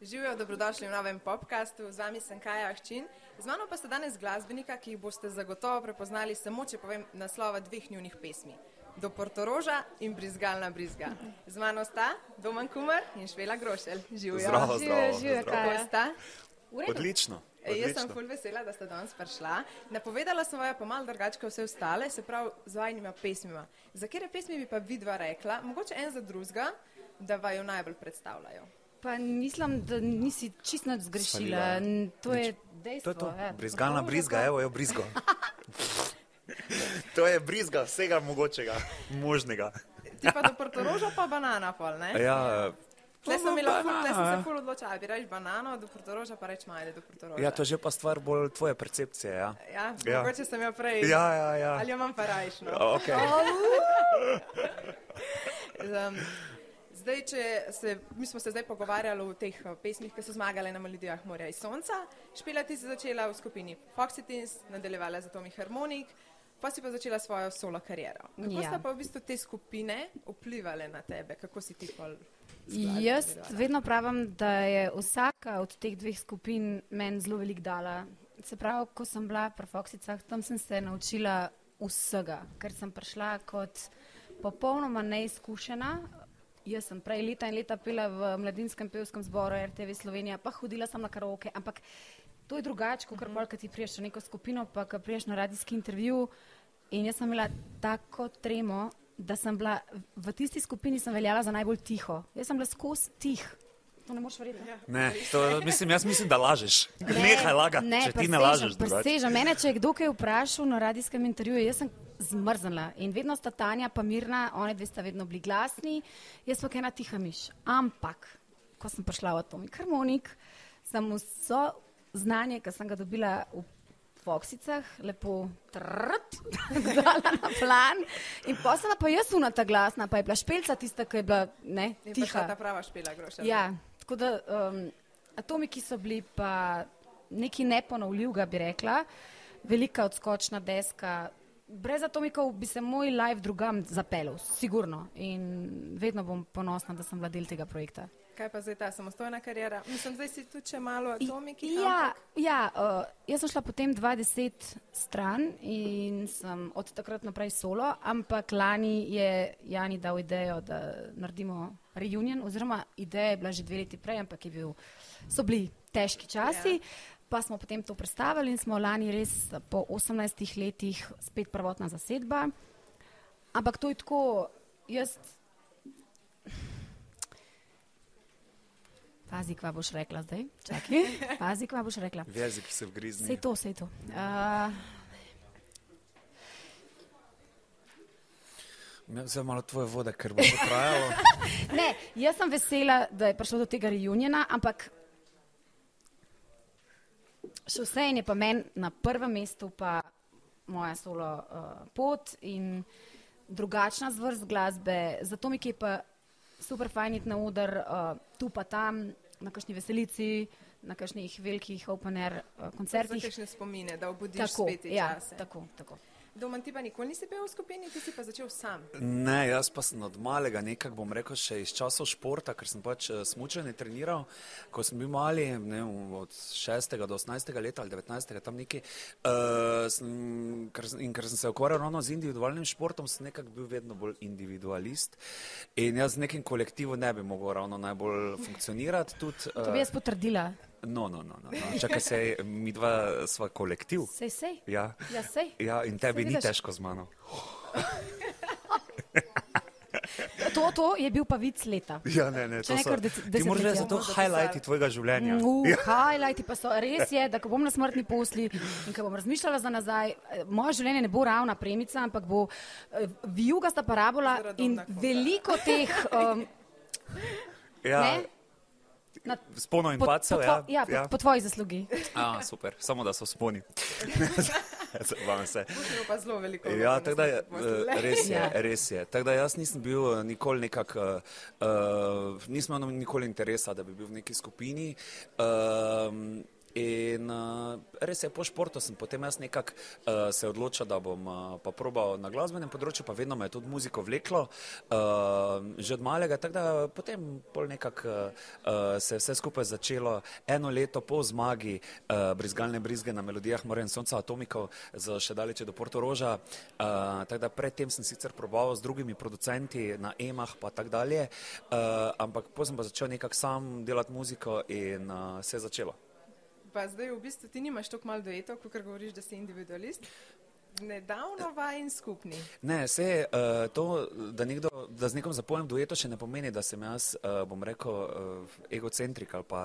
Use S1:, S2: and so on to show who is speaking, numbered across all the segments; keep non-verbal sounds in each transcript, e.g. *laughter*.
S1: Živijo, dobrodošli v novem podkastu, z vami sem Kaja Ahčin. Z mano pa sta danes glasbenika, ki jih boste zagotovo prepoznali samo, če povem naslova dveh njunih pesmi. Do Portoroža in Brizgalna brizga. Z mano sta Domen Kumar in Švela Grošelj. Živijo.
S2: Zdravo,
S3: Živijo,
S2: zdravo.
S3: živijo,
S2: zdravo.
S3: Kaja.
S1: Kako sta? V redu.
S2: Odlično.
S1: E, Jaz sem
S2: odlično.
S1: ful vesela, da ste danes prišla. Napovedala sem vam pa malo drugače kot vse ostale, se pravi z vajnima pesmima. Za katere pesmi bi pa vidva rekla, mogoče en za drugega, da vaju najbolj predstavljajo?
S3: Pa mislim, da nisi čisto nič zgrešila.
S2: Svalila.
S3: N- To je
S2: To
S3: dejstvo.
S2: je to.
S3: ja.
S2: Brizgalna
S3: Tako,
S2: brizga,
S3: tako.
S2: evo jo brizgo. to je brizga vsega mogočega, možnega.
S1: Ti pa do Portoroža pa banana pol, ne?
S2: Ja,
S1: Tle
S3: no,
S1: sem imela ful, tle sem se
S2: banana.
S1: ful odločala, bi reč banano, do Portoroža pa reč majde do Portoroža.
S2: ja, to je že pa stvar bolj tvoje percepcije. Ja,
S1: Ja,
S2: Ja.
S1: mogoče sem jo prej.
S2: ja, ja. ja.
S1: Ali jo imam pa no. rajšno.
S2: Okay.
S1: Um, zdaj, če se, mi smo se zdaj pogovarjali o teh eh, pesmih, ki so zmagale na Malidijah morja in sonca. Špela ti si začela v skupini Foxy Teens, nadaljevala z Atomic Harmonic, pa si pa začela svojo solo kariero. Kako ja.
S3: Ja.
S1: sta pa v bistvu te skupine vplivale na tebe? Kako si ti pol?
S3: Jaz vedno pravim, da je vsaka od teh dveh skupin meni zelo veliko dala. Se pravi, ko sem bila pri Foxicah, tam sem se naučila vsega, ker sem prišla kot popolnoma neizkušena. Jaz sem prej leta in leta pela v mladinskem pevskem zboru RTV Slovenija, pa hodila sem na karaoke, ampak to je drugače, kot
S2: Mhm.
S3: kar polk ti priješ v neko skupino, pa ko priješ na radijski intervju. In jaz sem imela tako tremo, da sem bila v tisti skupini sem veljala za najbolj tiho. Jaz sem bila skozi tih. To ne moreš verjeti. Ja.
S2: Ne, to, mislim, jaz mislim, da lažeš. Ne, Nehaj lagati,
S3: ne,
S2: če ti ne
S3: presežem,
S2: lažeš. drugače.
S3: Presežem, mene, če je kdo kaj vprašal na radijskem intervjuju, jaz sem zmrznila in vedno sta Tanja pa Mirna, one dve sta vedno bili glasni, jaz pa ena tiha miš. Ampak, ko sem prišla v Atomic Harmonik, sem vso znanje, ki sem ga dobila v Foxicah, lepo trt, *laughs* dala na plan in poslala pa jaz unata glasna, pa je bila špelca tista, ki je bila ne,
S1: Tiha.
S3: tiha.
S1: Ta prava špela, groša.
S3: Ja, tako da um, atomiki so bili pa nekaj neponovljivega, bi rekla. Velika odskočna deska. Brez atomikov bi se moj live drugam zapeljal, sigurno. In vedno bom ponosna, da sem bila del tega projekta.
S1: Kaj pa zdaj ta samostojna karijera? Mislim, zdaj si tu če malo atomiki.
S3: Ja, ja uh, jaz sem šla potem 20 stran in sem od takrat naprej solo, ampak lani je Jani dal idejo, da naredimo reunion, oziroma ideja je bila že dve leti prej, ampak je bil, so bili težki časi. Ja. Pa smo potem to predstavili in smo lani res po 18 letih spet prvotna zasedba. Ampak to je tako, jaz. Pazi, kva boš rekla *laughs* zdaj. Čakaj, pazi, kva boš rekla.
S2: V jezik se vgrizni.
S3: Sej to, sej to. Uh,
S2: Ja, Zdaj malo tvoje vode, ker bo to trajalo.
S3: ne, jaz sem vesela, da je prišlo do tega reunjena, ampak še vse je pa meni na prvem mestu pa moja solo uh, pot in drugačna zvrst glasbe. Zato mi je pa super fajn iti na oder, uh, tu pa tam, na kakšni veselici, na kakšnih velikih open-air uh,
S1: Za
S3: koncertih.
S1: kakšne spomine, da obudiš
S3: Tako,
S1: spet te
S3: ja,
S1: čase.
S3: tako, tako.
S2: Eh.
S1: Domen, ti pa nikoli nisi bil v skupini, ti si pa začel sam.
S2: Ne, jaz pa sem od malega, nekako bom rekel, še iz časov športa, ker sem pač smučanje treniral. Ko sem bil mali, ne, vem, od 6. do 18. leta ali 19. tam neki, uh, sem, ker, sem- in ker sem se ukvarjal ravno z individualnim športom, sem nekako bil vedno bolj individualist. In jaz z nekim kolektivom ne bi mogel ravno najbolj funkcionirati. Tudi, eh,
S3: To bi jaz potrdila.
S2: no, no, no, no, no. Čakaj se, mi dva sva kolektiv.
S3: Sej, sej.
S2: Ja.
S3: Ja, sej.
S2: Ja, in tebi ni
S3: vidiš.
S2: težko z mano.
S3: To, to je bil pa vic leta.
S2: *laughs* Ja, ne, ne,
S3: Če
S2: to
S3: ne
S2: so,
S3: kar dec-
S2: ti moraš reči, da
S3: desetletja.
S2: so to highlighti tvojega življenja.
S3: Uh, highlighti pa so res je, da ko bom na smrtni posli in ko bom razmišljala za nazaj, eh, moje življenje ne bo ravna premica, ampak bo eh, vijugasta parabola in
S1: Zaradovna koga.
S3: veliko teh um,
S2: Ja,
S3: ne? na,
S2: Spono in
S3: po, po,
S2: pacev, ja.
S3: tvo, ja, po, po tvojih zaslugi.
S2: A, super, samo da so *laughs* sponi. Zabavam Ja, se.
S1: Puščimo pa zelo veliko.
S2: Ja, tako da je,
S1: smo se poslali.
S2: eh, res je,
S3: Ja.
S2: res je. Tako da jaz nisem bil eh, nikoli nekak, uh, uh, nisem imel nikoli interesa, da bi bil v neki skupini. Um, In uh, res je, po športu sem potem jaz nekako uh, se odločil, da bom uh, pa probal na glasbenem področju, pa vedno me je tudi muziko vleklo, uh, že od malega, tako da potem pol nekako uh, uh, se je vse skupaj začelo eno leto po zmagi uh, brizgalne brizge na melodijah Morjen Sonca Atomikov z še daleče do Portoroža, uh, tako da predtem sem sicer probal z drugimi producenti na E EMAH pa tako dalje, uh, ampak potem sem pa začel nekako sam delati muziko in uh, se je začelo.
S1: Pa zdaj v bistvu ti nimaš tako malo duetov, kot govoriš, da si individualist.
S2: Eh.
S1: Nedavno vajen skupni.
S2: Ne, se, uh, to, da, nekdo, da z nekom zapojem dueto še ne pomeni, da sem jaz, uh, bom rekel, uh, egocentrik ali pa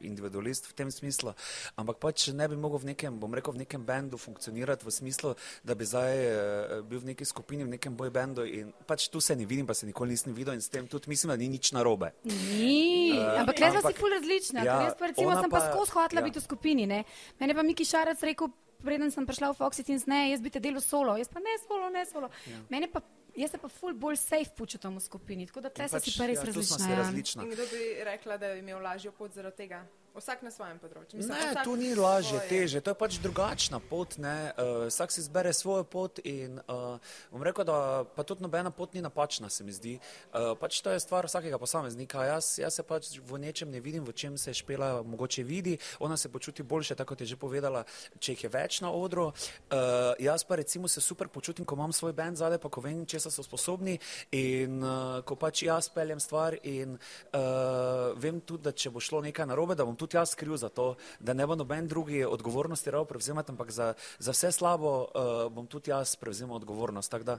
S2: individualist v tem smislu, ampak pač ne bi mogel v nekem, bom rekel, v nekem bendu funkcionirati v smislu, da bi zdaj uh, bil v neki skupini, v nekem boju bendu in pač tu se ne vidim, pa se nikoli nisem videl in s tem tudi mislim, da ni nič narobe.
S3: Ni,
S2: Eh,
S3: ampak le smo si
S2: ampak-
S3: ful različna.
S2: Ja,
S3: Ja, jaz pa recimo
S2: ona
S3: sem pa
S2: pa-
S3: skozi hotla
S2: ja.
S3: ja. biti v skupini. Ne? Mene pa Miki Šarac rekel, preden sem prišla v Foxy Teens, ne, jaz bi te delal solo, jaz pa ne solo, ne solo. Ja. Mene pa, jaz se pa ful bolj safe počutim v skupini, tako da tle se si pa res
S2: ja, tu smo
S3: različna.
S2: si
S3: ja.
S2: različna.
S1: In kdo bi rekla, da je imel lažjo pot zaradi tega? Vsak na svojem področju.
S2: Ne,
S1: vsak
S2: to ni lažje,
S1: svoje.
S2: teže, to je pač drugačna pot. Ne? Uh, vsak si izbere svojo pot in uh, bom rekel, da pa tudi nobena pot ni napačna, se mi zdi. Uh, pač to je stvar vsakega posameznika. Jaz, jaz se pač v nečem ne vidim, v čem se špela mogoče vidi, ona se počuti boljše, tako kot je že povedala, če jih je več na odru. Uh, jaz pa recimo se super počutim, ko imam svoj bend zadaj, pa ko vem, česa so sposobni in uh, ko pač jaz peljem stvar in uh, vem tudi, da če bo šlo nekaj narobe, da bom tudi jaz kriv za to, da ne bo noben drugi odgovornosti rav prevzemati, ampak za, za vse slabo uh, bom tudi jaz prevzemal odgovornost. Tako da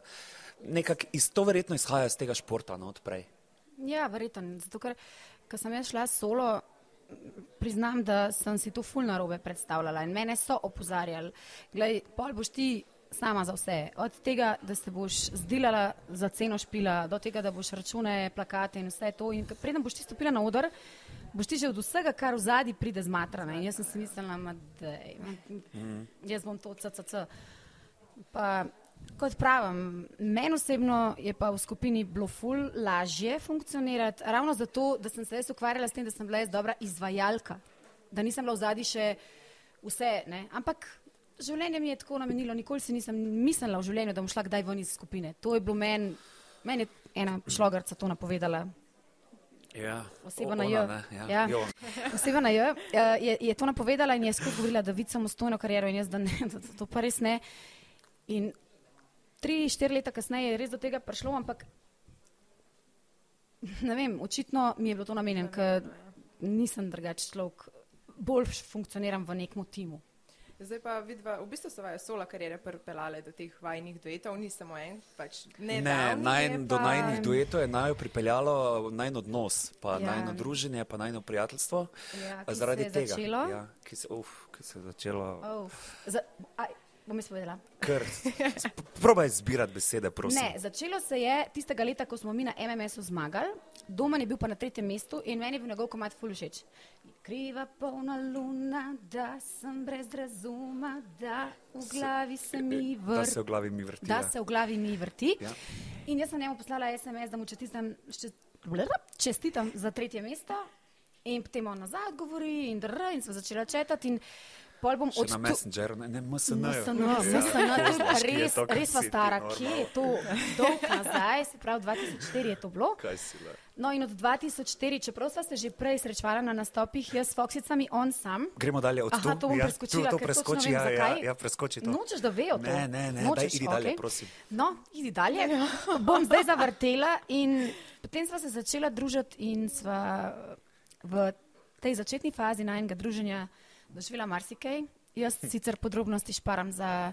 S2: nekako iz to verjetno izhaja iz tega športa, no odprej.
S3: Ja, verjetno. Zato, ker ko sem jaz šla solo, priznam, da sem si to fulno robe predstavljala in mene so opozarjali. Glej, pol boš ti sama za vse. Od tega, da se boš zdelala za ceno špila, do tega, da boš račune, plakate in vse to. In ko- preden boš ti stopila na oder, boš ti že od vsega, kar v zadnji pride zmatrana. In jaz sem si mislila, da jaz bom to ccc. Pa, kot pravim, meni osebno je pa v skupini bilo ful lažje funkcionirati, ravno zato, da sem se jaz ukvarjala s tem, da sem bila jaz dobra izvajalka, da nisem bila v zadnji še vse. Ne? Ampak življenje mi je tako namenilo, nikoli si nisem mislila v življenju, da bom šla kdaj ven iz skupine. To je bilo meni, meni je ena šlogarca to napovedala.
S2: Ja,
S3: Oseba na J.
S2: Ja.
S3: Ja.
S2: Jo.
S3: *laughs* Oseba na J eh, je, je to napovedala in je skozi govorila, da vidim samostojno kariero in jaz, da, ne, *laughs* da to pa res ne. In tri, štiri leta kasneje je res do tega prišlo, ampak ne vem, očitno mi je bilo to namenjeno, ker nisem drugačen človek, bolj funkcioniram v nekem timu.
S1: Zdaj pa vidva, v bistvu so vaju sola karijere pripeljale do teh vajnih duetov, ni samo en, pač ne.
S2: Ne,
S1: naj,
S2: naj, do najnih duetov je naj pripeljalo najn odnos, pa ja.
S3: Ja.
S2: najno druženje, pa najno prijateljstvo.
S3: Ja, ki
S2: zaradi
S3: se je
S2: tega,
S3: začelo.
S2: Ja, ki, se, uf, ki se je začelo.
S3: Oh. Za, aj, bom jaz povedala. *laughs*
S2: Kar, probaj zbirati besede, prosim.
S3: Ne, začelo se je tistega leta, ko smo mi na MMS-u zmagali. Domen je bil pa na tretjem mestu in meni je bil njegov komat ful všeč. Kriva polna luna, da sem brez razuma, da v glavi se mi
S2: eh, Da se
S3: vrti.
S2: v glavi mi vrti.
S3: Da
S2: ja.
S3: se v glavi mi vrti.
S2: Ja.
S3: In jaz sem njemu poslala SMS, da mu čestitam, ščest- čestitam za tretje mesto. In potem on nazaj odgovori, in, drr, in sem začela četati. In pol bom
S2: Še na
S3: odtu-
S2: Messengeru, ne, ne MSN.
S3: MSN, MSN, to je pa no, res, res pa stara, kje je to dolg nazaj, se pravi 2004 je to bilo.
S2: Kaj si le?
S3: No in od 2004, čeprav sva se že prej srečevala na nastopih, jaz s Foxicami, on sam.
S2: Gremo dalje od
S3: Aha,
S2: tu.
S3: to bom
S2: ja,
S3: preskočila,
S2: tu, to
S3: ker
S2: preskoči,
S3: točno
S2: ja,
S3: vem,
S2: ja,
S3: zakaj.
S2: ja, preskoči to.
S3: Nočeš, da vejo to?
S2: Ne, ne, ne,
S3: Nočeš,
S2: daj, idi dalje,
S3: okej.
S2: prosim.
S3: No, idi dalje. *laughs* Bom zdaj zavrtela in potem sva se začela družiti in sva v tej začetni fazi najnega druženja doživela marsikaj. Jaz
S2: Hm.
S3: sicer podrobnosti šparam za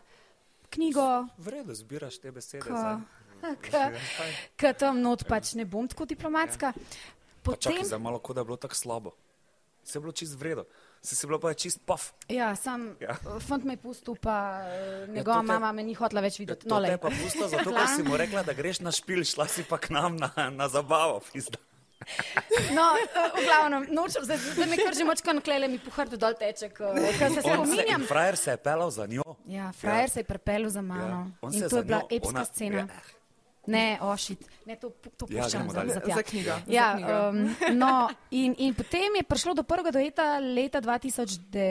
S3: knjigo,
S2: V redu, zbiraš te besede.
S3: Ka- *laughs*
S2: zdaj.
S3: ka-
S2: Fajn.
S3: Ker tam not pač ne bom tako diplomatska.
S2: Ja. Pa čakaj,
S3: Potem,
S2: za malo, kot da je bilo tako slabo. Se je bilo čist vredo, se je bilo pa čist paf.
S3: ja, sam,
S2: Ja.
S3: ja. fant me je pustil, pa eh, njegova ja,
S2: te-
S3: mama me ni hotela več
S2: Ja, to
S3: videti. No,
S2: te
S3: lej.
S2: je pa pusto, zato ker si mu rekla, da greš na špil, šla si pa k nam na, na zabavo. Pizda.
S3: no, eh, v glavnem, nočem, zdaj, zdaj me krži močkan, klele mi puhar do dol teče, ker ker se
S2: On se, in
S3: spominjam.
S2: frajer se je pelal za njo.
S3: Ja, frajer ja. se je prepelil za
S2: Ja,
S3: mano ja.
S2: on se
S3: in
S2: je
S3: to
S2: za
S3: je bila
S2: njo-
S3: epska
S2: ona-
S3: ona, scena.
S2: Ja,
S3: ne ošit, ne to, to
S2: Ja,
S3: puščam
S2: gremo
S3: za,
S2: dalje.
S3: za tja.
S1: Za eh, knjigo. za knjigo.
S3: Ja, um, no, in, in potem je prišlo do prvega dueta leta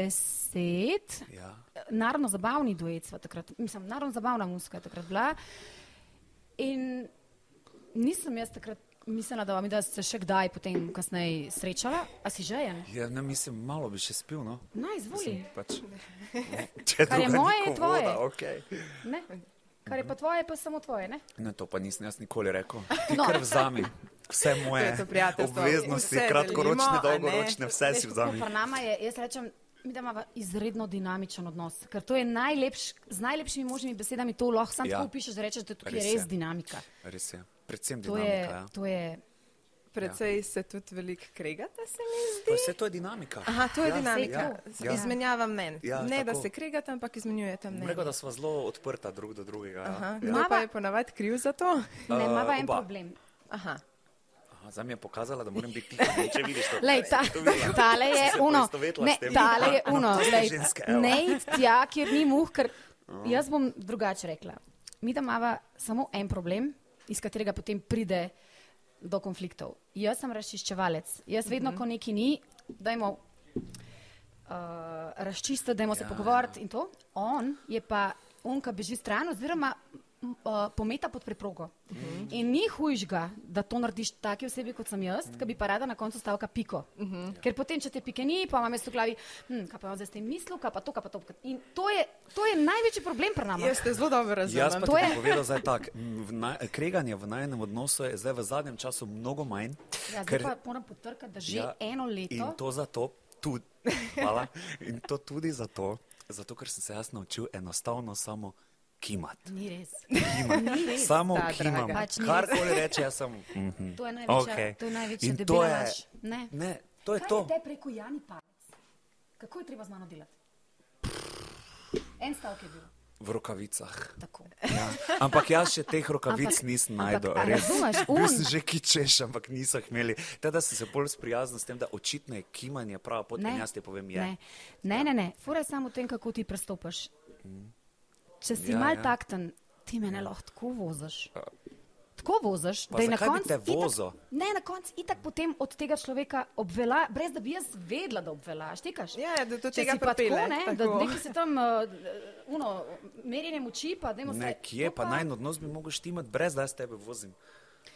S3: 2010,
S2: Ja.
S3: naravno zabavni duet, sva takrat, mislim, naravno zabavna muzika je takrat bila. In nisem jaz takrat mislila, da, mi, da se še kdaj potem kasneje srečala. A si žejen?
S2: Ja, ne, mislim, malo bi še spil. No.
S3: No, izvoli.
S2: Mislim,
S3: *laughs*
S2: pač, če
S3: Kar je
S2: druga
S3: moje,
S2: ni
S3: je tvoje.
S2: Voda, okay.
S3: Ne? Kar je pa tvoje, pa samo tvoje, ne?
S2: Ne, to pa nisem jaz nikoli rekel. Ti
S3: No.
S2: no. kar vzami.
S1: To
S2: Vse
S1: je
S2: moje
S1: to prijateljstvo.
S2: obveznosti,
S1: Vse delimo,
S2: kratkoročne,
S1: a ne?
S2: dolgoročne, vse si vzami.
S3: Pri nama je, jaz rečem, mi da imamo izredno dinamičen odnos, ker to je najlepš, z najlepšimi možnimi besedami to lahko samo ja.
S2: Ja.
S3: tako pišeš, da rečeš, da tukaj je
S2: Res je.
S3: res dinamika.
S2: Res je. Predvsem
S3: To je,
S2: dinamika. ja.
S3: to je
S1: Precej se tudi veliko kregate, se mi
S2: Ja.
S1: zdi.
S2: Vse to je dinamika.
S1: Aha, to je ja, dinamika.
S3: saj
S1: Ja,
S2: ja.
S1: Izmenjava mnen. Ja,
S2: Ja,
S1: ne, tako. da
S2: tako.
S1: se kregate, ampak izmenjujete mnenje.
S2: Rekel, da smo zelo odprta drug do drugega. ja.
S1: Aha, No.
S2: Ja.
S1: kdo pa je ponavadi kriv za to?
S3: Ne, ima pa
S2: Eh,
S3: en
S2: oba.
S3: problem.
S1: Aha.
S2: Aha, Zdaj mi je pokazala, da moram biti tiho, če vidiš to.
S3: Lej, ta, tale je uno, ne, tale je uno, lej, ne id tja, kjer ni muh, ker jaz bom drugače rekla. Mi da imava samo en problem, iz katerega potem pride do konfliktov. Jaz sem razčiščevalec. Jaz vedno, ko neki ni, dajmo uh, razčistiti, dajmo se
S2: Ja,
S3: pogovoriti in to. On je pa on, ki beži stran oziroma m, uh, pometa pod preprogo.
S2: Mhm.
S3: In ni hujšega, da to narediš taki osebi, kot sem jaz, ki bi pa rada na koncu stavka piko.
S2: Mhm. Ja.
S3: Ker potem, če te pike ni, pa imam jaz v glavi, hm, kaj pa imam zdaj s tem mislil, kaj pa to, kaj pa to. In to je, to je največji problem pri nami.
S1: Jaz te zelo dobro razumem.
S2: Jaz pa ti
S3: To
S2: bom
S3: je-
S2: povedal zdaj tako. v naj- Kreganje v najnem odnosu je zdaj v zadnjem času mnogo manj.
S3: Ja, zdaj pa moram potrkati, da že ja, eno leto.
S2: In to zato tudi. Hvala. *laughs* In to tudi zato, zato, ker sem se jaz naučil enostavno samo kimati.
S3: Ni
S2: *laughs*
S3: res.
S2: Kimam. Samo
S1: Ta,
S2: kimam.
S1: draga.
S3: Pač ni res.
S2: Karkoli reče, jaz sem. mhm.
S3: To je največja-
S2: Okej.
S3: to je največja
S2: In
S3: debela
S2: to je-
S3: laž. Ne.
S2: Ne, to je
S3: Kaj
S2: to.
S3: je te preko Jani palec? Kako je treba z mano delati? En stavek je bil.
S2: V rokavicah.
S3: Tako.
S2: Ja. Ampak jaz še teh rokavic
S3: Ampak-
S2: nisem
S3: ampak
S2: najdel.
S3: a
S2: res.
S3: razumeš?
S2: Bil
S3: Un-
S2: sem že kičeš, ampak niso jih imeli. Teda sem se bolj sprijaznil s tem, da očitno je kimanje prava pot in jaz ti povem, je. Ja.
S3: ne. ne, ne, ne. Fura je samo v tem, kako ti prestopaš. Če si
S2: Mhm. Ja,
S3: ja, mal
S2: ja.
S3: ja. takten, ti me ne lahko tako voziš. Tako voziš,
S2: Pa
S3: da je na
S2: zakaj bi
S3: koncu
S2: te vozil?
S3: itak, ne, na koncu itak potem od tega človeka obvela, brez da bi jaz vedela, da obvelaš. Tikaš?
S1: Ja, ja, da do
S3: Če
S1: tega
S3: si pa
S1: pripelje,
S3: tako, ne, da
S1: tako.
S3: neki se tam uh, uno, merjenje moči, pa dajmo se.
S2: Nekje
S3: to
S2: pa naj odnos bi mogel štimati, brez da jaz tebe vozim.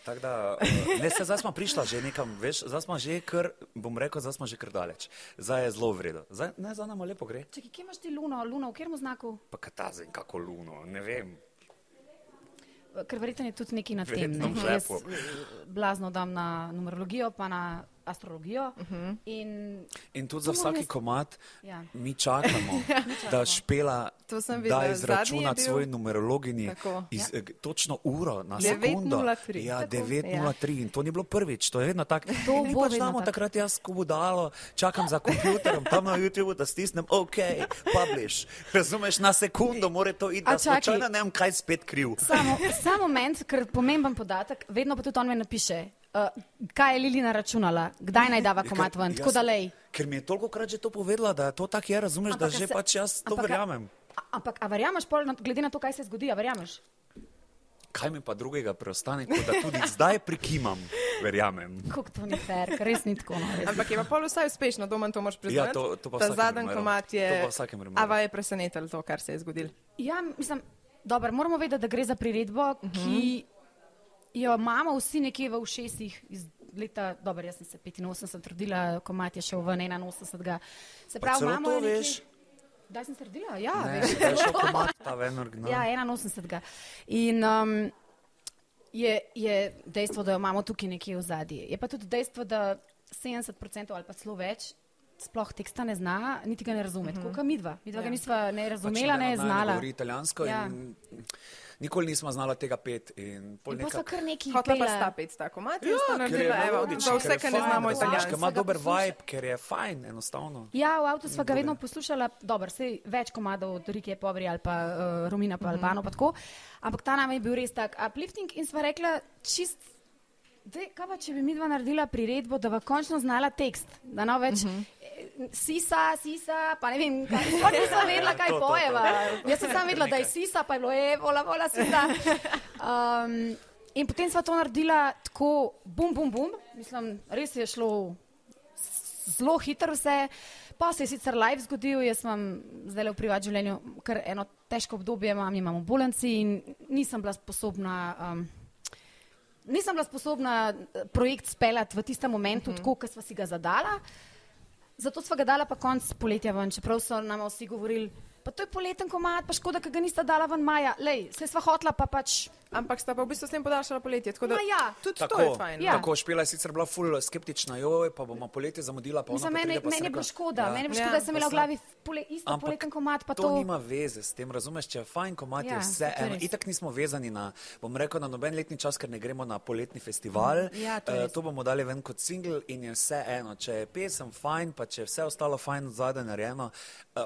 S2: Tako Da, eh, ne, se, zdaj smo prišla že nekam, veš, zdaj smo že kar, bom rekel, zdaj smo že kar daleč. Zdaj je zelo vredno. Zdaj, ne, zdaj nam lepo gre.
S3: Čakaj, kje imaš ti luno, luno v katerem znaku?
S2: Pa katazen, kako luno, ne vem.
S3: Ker verjetno je tudi nekaj na tem.
S2: Verjetno
S3: Ne?
S2: v
S3: Ker Jaz
S2: žepu.
S3: eh, blazno dam na numerologijo, pa na astrologijo. Uh -huh. In
S2: In tudi za
S3: To moram
S2: vsaki
S3: No, jaz-
S2: komat
S3: Ja.
S2: mi
S3: *laughs*
S2: čakamo, da špela
S1: To sem videla. Zadnji je
S2: da izračuna
S1: bil-
S2: svoji numerologinji
S1: Tako.
S2: iz, ja. točno uro na sekundo.
S1: 9:03.
S2: Ja,
S1: Tako.
S2: 9.03 in to ni bilo prvič, to je vedno tako.
S3: To
S2: In
S3: bo
S2: pač
S3: vedno
S2: damo
S3: tako.
S2: takrat jaz, ko bo dalo, čakam za kompjuterjem, tam na YouTube, da stisnem OK, publish. Razumeš, na sekundo more to iti,
S3: A
S2: da
S3: čakaj.
S2: slučajno ne vem, kaj spet kriv.
S3: samo, samo moment, ker pomemben podatek, vedno pa tudi on me napiše, uh, kaj je Lilina računala, kdaj naj dava komat ven. Tako da lej.
S2: Ker mi je toliko krat že to povedala, da to tako je, razumeš, da
S3: Ampak a
S2: že
S3: se-
S2: pač jaz to
S3: ampak a-
S2: verjamem.
S3: a- Ampak, a verjameš, pol, na- glede na to, kaj se zgodi, a verjameš?
S2: Kaj mi pa drugega preostane, kot da
S3: *laughs*
S2: tudi zdaj prikimam, verjamem.
S3: Kako to ni fair, ker res ni tako. No, res.
S1: Ampak je pa pol vsaj uspešno, domen to moraš priznati.
S2: Ja, to- to pa v
S1: Ta
S2: vsakem
S1: zadnji
S2: primeru.
S1: komat
S2: To
S1: je.
S2: pa v vsakem primeru.
S1: A vas je presenetilo to, kar se je zgodilo?
S3: Ja, mislim, dobro, moramo vedeti, da gre za priredbo, ki jo imamo vsi nekje v ušesih iz leta, dobro, jaz sem se 85 rodila, komat je šel ven 81. Se
S2: Pa
S3: pravi,
S2: celo
S3: imamo
S2: to
S3: jo nekje-
S2: veš.
S3: Kdaj sem se rodila? Ja,
S2: Ne,
S3: veš.
S2: še je šel komat, ta ven no, original.
S3: Ja, 81. In um, je, je dejstvo, da jo imamo tukaj nekje v zadnji. Je pa tudi dejstvo, da 70% ali pa celo več sploh teksta ne zna, niti ga ne razume. Tako kot midva. Midva ja. ga nisva
S2: Pač
S3: ne razumela, ne znala.
S2: Govori italijansko
S3: Ja.
S2: ja. in nikoli nismo znala tega pet. In pol
S3: In pa so
S2: nekako-
S3: kar neki
S1: Hotla pa
S3: pela.
S1: sta pet tako komat, jaz sem
S2: Ja, ker je
S1: naredila, evo,
S2: melodičen,
S1: za
S2: ker
S1: vse,
S2: je
S1: ki ne
S2: fajn,
S1: znamo
S2: razumeš, ker
S1: italijansko.
S2: Ima
S3: ga
S2: dober
S3: poslušaš.
S2: vibe, ker je fajn, enostavno.
S3: Ja, v avtu smo ga
S2: Dobre.
S3: vedno poslušali, dobro, sej več komadov od Rike Povri ali pa uh, Romina
S2: Mhm.
S3: pa mm -hmm. Albano, pa tako. ampak ta nam je bil res tak uplifting in sva rekla čist. Dej, kaj pa, če bi mi dva naredila priredbo, da bi končno znala tekst, da no več mm
S2: Mhm.
S3: -hmm. sisa, sisa, pa ne vem, kaj sploh nisem
S2: *laughs*
S3: vedela,
S2: Ja,
S3: kaj
S2: to, to, to,
S3: pojeva. *laughs*
S2: to, to, to.
S3: "E, Jaz sem samo vedela, da je sisa, pa je bilo je, vola, vola, sisa. Um, In potem sva to naredila tako, bum, bum, bum. Mislim, res je šlo s- zelo hitro vse. Pa se je sicer live zgodil, jaz imam zdaj v privatnem življenju kar eno težko obdobje, imam, imam v bolnici in nisem bila sposobna. Um, Nisem bila sposobna eh, projekt speljati v tistem momentu, uh -huh. tako kot smo si ga zadala. Zato smo ga dala pa konc poletja ven, čeprav so nam vsi govorili, pa to je poleten komat, pa škoda, ker ga nista dala ven maja. Lej, se sva hotla pa pač.
S1: Ampak sta pa v bistvu s tem podaljšala poletje. Tako da
S3: Ma ja.
S1: tudi to je
S2: Tako,
S1: fajn. no.
S3: Ja.
S2: tako špila je sicer bila ful skeptična, joj, pa bomo poletje zamudila, pa ona
S3: Mislim,
S2: pa
S3: meni,
S2: pride, pa sem
S3: meni je
S2: rekla,
S3: bilo škoda, ja. meni je bilo škoda,
S1: Ja.
S3: da sem imela v glavi pole, isto
S2: Ampak
S3: poleten komat, pa
S2: to,
S3: to,
S2: to nima veze s tem, razumeš, če je fajn komat, ja,
S3: Ja,
S2: je vse
S3: to je
S2: eno.
S3: res.
S2: Itak nismo vezani na, bom rekel, na noben letni čas, ker ne gremo na poletni festival.
S3: Ja, to je
S2: Eh,
S3: res.
S2: to bomo dali ven kot single in je vse eno. Če je pesem fajn, pa če je vse ostalo fajn zadaj narejeno, eh,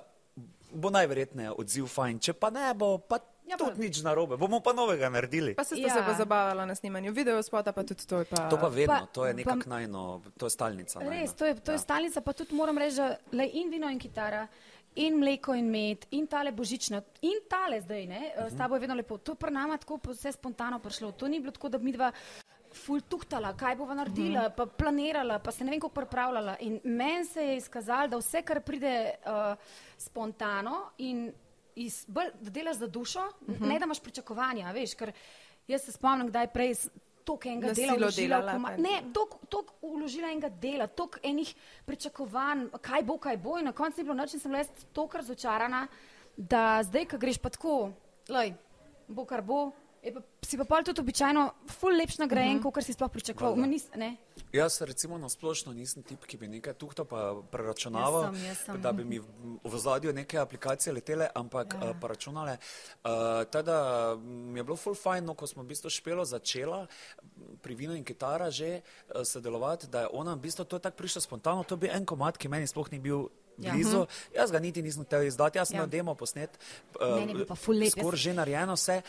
S2: bo najverjetneje odziv fajn. Če pa ne bo, pa ja,
S3: Ja, pa-
S2: tudi nič narobe, bomo pa novega naredili.
S1: Pa se sta ja.
S3: Ja.
S1: se pa zabavala na snemanju video spota, pa tudi to je pa.
S2: To pa vedno,
S3: Pa-
S2: to je
S3: pa-
S2: nekak najno, to je stalnica. najina.
S3: res, to je, to je
S2: Ja.
S3: stalnica, pa tudi moram reči, da le in vino in kitara. In mleko in med, in tale božična, in tale zdaj, ne, eh, s tabo je vedno lepo. To je pri nama tako po- vse spontano prišlo. To ni bilo tako, da bi mi dva ful tuhtala, kaj bova naredila, pa planirala, pa se ne vem, kako pripravljala. In meni se je izkazalo, da vse, kar pride uh, spontano in iz, bolj, da delaš za dušo, uh -huh. ne da imaš pričakovanja, veš, ker jaz se spomnim, kdaj prej toliko enega
S1: Na
S3: dela
S1: silo
S3: vložila, v
S1: delala,
S3: koma-
S1: pa-
S3: ne, toliko uložila enega dela, toliko enih pričakovanj, kaj bo, kaj bo. In na koncu ni bilo noč in sem bila jaz toliko razočarana, da zdaj, ko greš pa tako, lej, bo kar bo. Je pa, si pa pol tudi običajno ful lepš
S1: Mhm.
S3: nagrajen, uh -huh. kot si sploh pričakoval. Ma Nis, ne,
S2: Jaz recimo na splošno nisem tip, ki bi nekaj tuhto pa preračunaval,
S3: Jaz sem, jaz sem.
S2: da bi mi v v ozadju neke aplikacije letele, ampak ja. uh, pa računale. Uh, teda mi je bilo full fajn, no, ko smo v bistvu špelo začela pri vinu in kitara že uh, sodelovati, da je ona v bistvu to je tako prišlo spontano, to bi en komat, ki meni sploh ni bil.
S3: Ja.
S2: Blizu, ja. Jaz ga niti nisem hotel izdati, jaz sem
S3: Ja.
S2: ja. demo posnet,
S3: Meni je bil pa ful lep, jaz-
S2: skoraj že narejeno vse.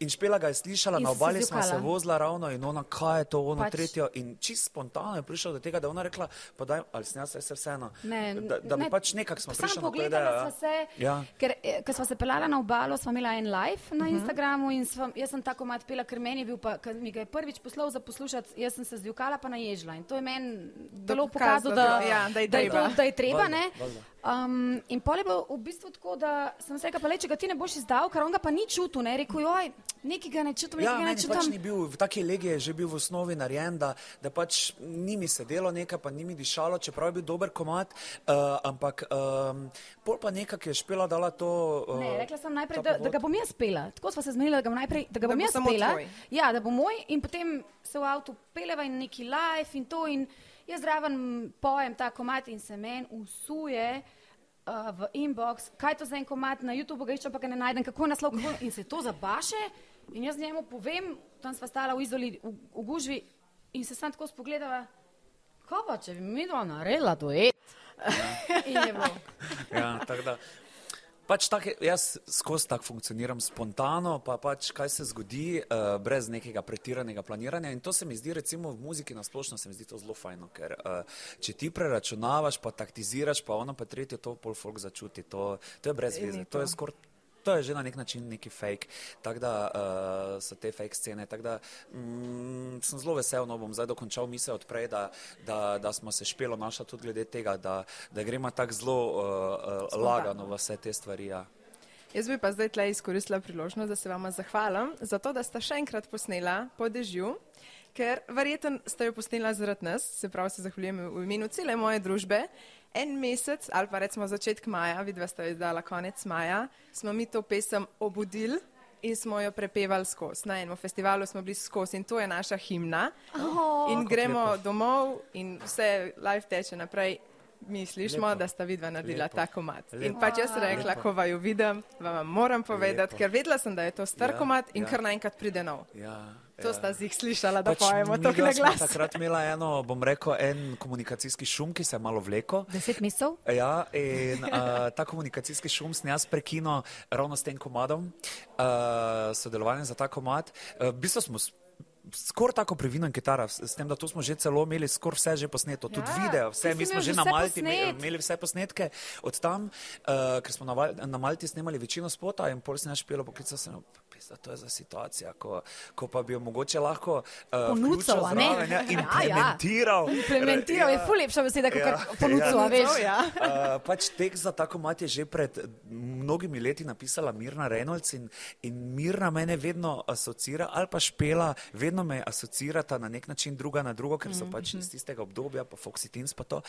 S2: In špela ga je slišala,
S3: In
S2: na
S3: sem se
S2: obali smo se
S3: zjokala.
S2: vozila ravno in ona, kaj je to, ono
S3: Pač.
S2: tretje. Jo, in čisto spontano je prišlo do tega, da je ona rekla, pa daj, ali sem jaz, ali se vseeno.
S3: ne,
S2: da, da bi
S3: ne,
S2: pač nekako smo prišli
S3: Samo
S2: na to
S3: pogledala
S2: idejo.
S3: sva se,
S2: Ja. Mhm.
S3: ja. ker eh, ko sva se pelala na obalo, sva imela en live na uh -huh. Instagramu in sva, jaz sem tako mat pela, ker meni je bil, pa, ker mi ga je prvič poslal za poslušati, jaz sem se zjukala pa naježila in to je meni
S1: pokazalo,
S3: zelo pokazalo, da,
S1: da- ja, da je
S3: je
S1: treba.
S3: to, da je treba.
S2: Valjda,
S3: ne.
S2: valjda.
S3: Um, in pol je bilo v bistvu tako, da sem se rekla, pa le, če ga ti ne boš izdal, ker on ga pa ni čutil, ne, rekel, joj, nekaj ga ne čutim, nekaj
S2: Ja,
S3: ga ne
S2: meni
S3: čutim.
S2: pač ni bil, v taki legi je že bil v osnovi narejen, da, da pač ni mi sedelo nekaj, pa ni mi dišalo, čeprav je bil dober komat, uh, ampak um, pol pa nekako je špela dala to. Uh,
S3: Ne, rekla sem najprej,
S2: ta
S3: da, da
S2: povod.
S3: ga bom jaz pela. Tako smo se zmenili, da ga bom, najprej, da ga
S1: Da
S3: bom
S1: bo
S3: jaz
S1: samo
S3: pela.
S1: tvoj.
S3: Ja, da bo moj in potem se v avtu peleva in neki live in to. In jaz zraven pojem ta komat in se meni usuje. Uh, v inbox, kaj je to za en komat na YouTubu, ga iščem, pa ga ne najdem, kako je naslov, kako in se to zabaše. In jaz njemu povem, tam sva stala v izoli, v, v gužvi in se sam tako spogledava, kaj pa če bi mi dva naredila duet. *laughs* in je bilo.
S2: *laughs* Ja, tako da. Pač tak, je- jaz skozi tako funkcioniram spontano, pa pač kaj se zgodi, uh, brez nekega pretiranega planiranja. In to se mi zdi, recimo v muziki na splošno, se mi zdi to zelo fajno, ker uh, če ti preračunavaš, pa taktiziraš, pa ono pa tretje, to pol folk začuti, to, to je brez
S1: Ni
S2: veze,
S1: to.
S2: to je skoraj. To je že na nek način neki fake, tako da uh, so te fake scene. Tako da mm, sem zelo vesel, no bom zdaj dokončal misel odprej, da, da, da smo se špelo našla tudi glede tega, da, da gremo tako zelo uh, uh, lagano v vse te stvari. Ja.
S1: Jaz bi pa zdaj tle izkoristila priložnost, da se vama zahvalim za to, da ste še enkrat posnela po dežju, ker verjetno ste jo posnela zaradi nas, se pravi, se zahvaljujem v imenu cele moje družbe. En mesec ali pa recimo začetek maja, vidva ste jo izdala konec maja, smo mi to pesem obudili. In smo jo prepevali skozi. Na enem festivalu smo bili skozi in to je naša himna. Oh, in gremo domov, in vse live teče naprej. Mi slišimo,
S2: Lepo.
S1: da sta vidva naredila
S2: Lepo.
S1: ta komat. In
S2: Lepo.
S1: pač jaz rekla,
S2: Lepo.
S1: ko vaju vidim, vam moram povedati,
S2: Lepo.
S1: ker vedela sem, da je to star
S2: Ja,
S1: komat in
S2: ja.
S1: kar naenkrat pride nov.
S2: Ja,
S1: To
S2: ja.
S1: sta z jih slišala, da pojemo
S2: midva
S1: to na
S2: sva
S1: glas.
S2: Takrat imela eno, bom rekel, en komunikacijski šum, ki se je malo vleko.
S3: Deset mesecev?
S2: Ja, in *laughs* uh, ta komunikacijski šum sem jaz prekinil eh, ravno s tem komadom, uh, sodelovanjem za ta komad. Uh, v Eh, bistvu smo s- skoraj tako previden kitara, s s tem, da tu smo že celo imeli skoraj vse že posneto, tudi
S3: Ja,
S2: video,
S3: ti
S2: vse,
S3: si
S2: mi smo
S3: imel
S2: že
S3: že
S2: na
S3: vse
S2: Malti
S3: posnet.
S2: me- imeli vse posnetke, od tam, uh, ker smo na, Val- na Malti snemali večino spota in pol sem jaz špilo poklical sem, pisa, to je za situacija, ko, ko pa bi jo mogoče lahko uh,
S3: Ponucal, a ne?
S2: zraven, ja,
S3: *laughs* Ja, ja.
S2: implementiral.
S3: Implementiral je ful lepša beseda, kot
S2: Ja,
S3: ja, ponudil,
S2: ja.
S3: ja. veš.
S1: Ja.
S2: Uh, pač tekst za tako mat je že pred mm, mnogimi leti napisala Mirna Reynolds in, in Mirna mene vedno asocira ali pa špela, vedno me asocirata na nek način druga na drugo, ker so
S1: Mhm,
S2: pač iz tistega obdobja, pa Foxy Teens pa to.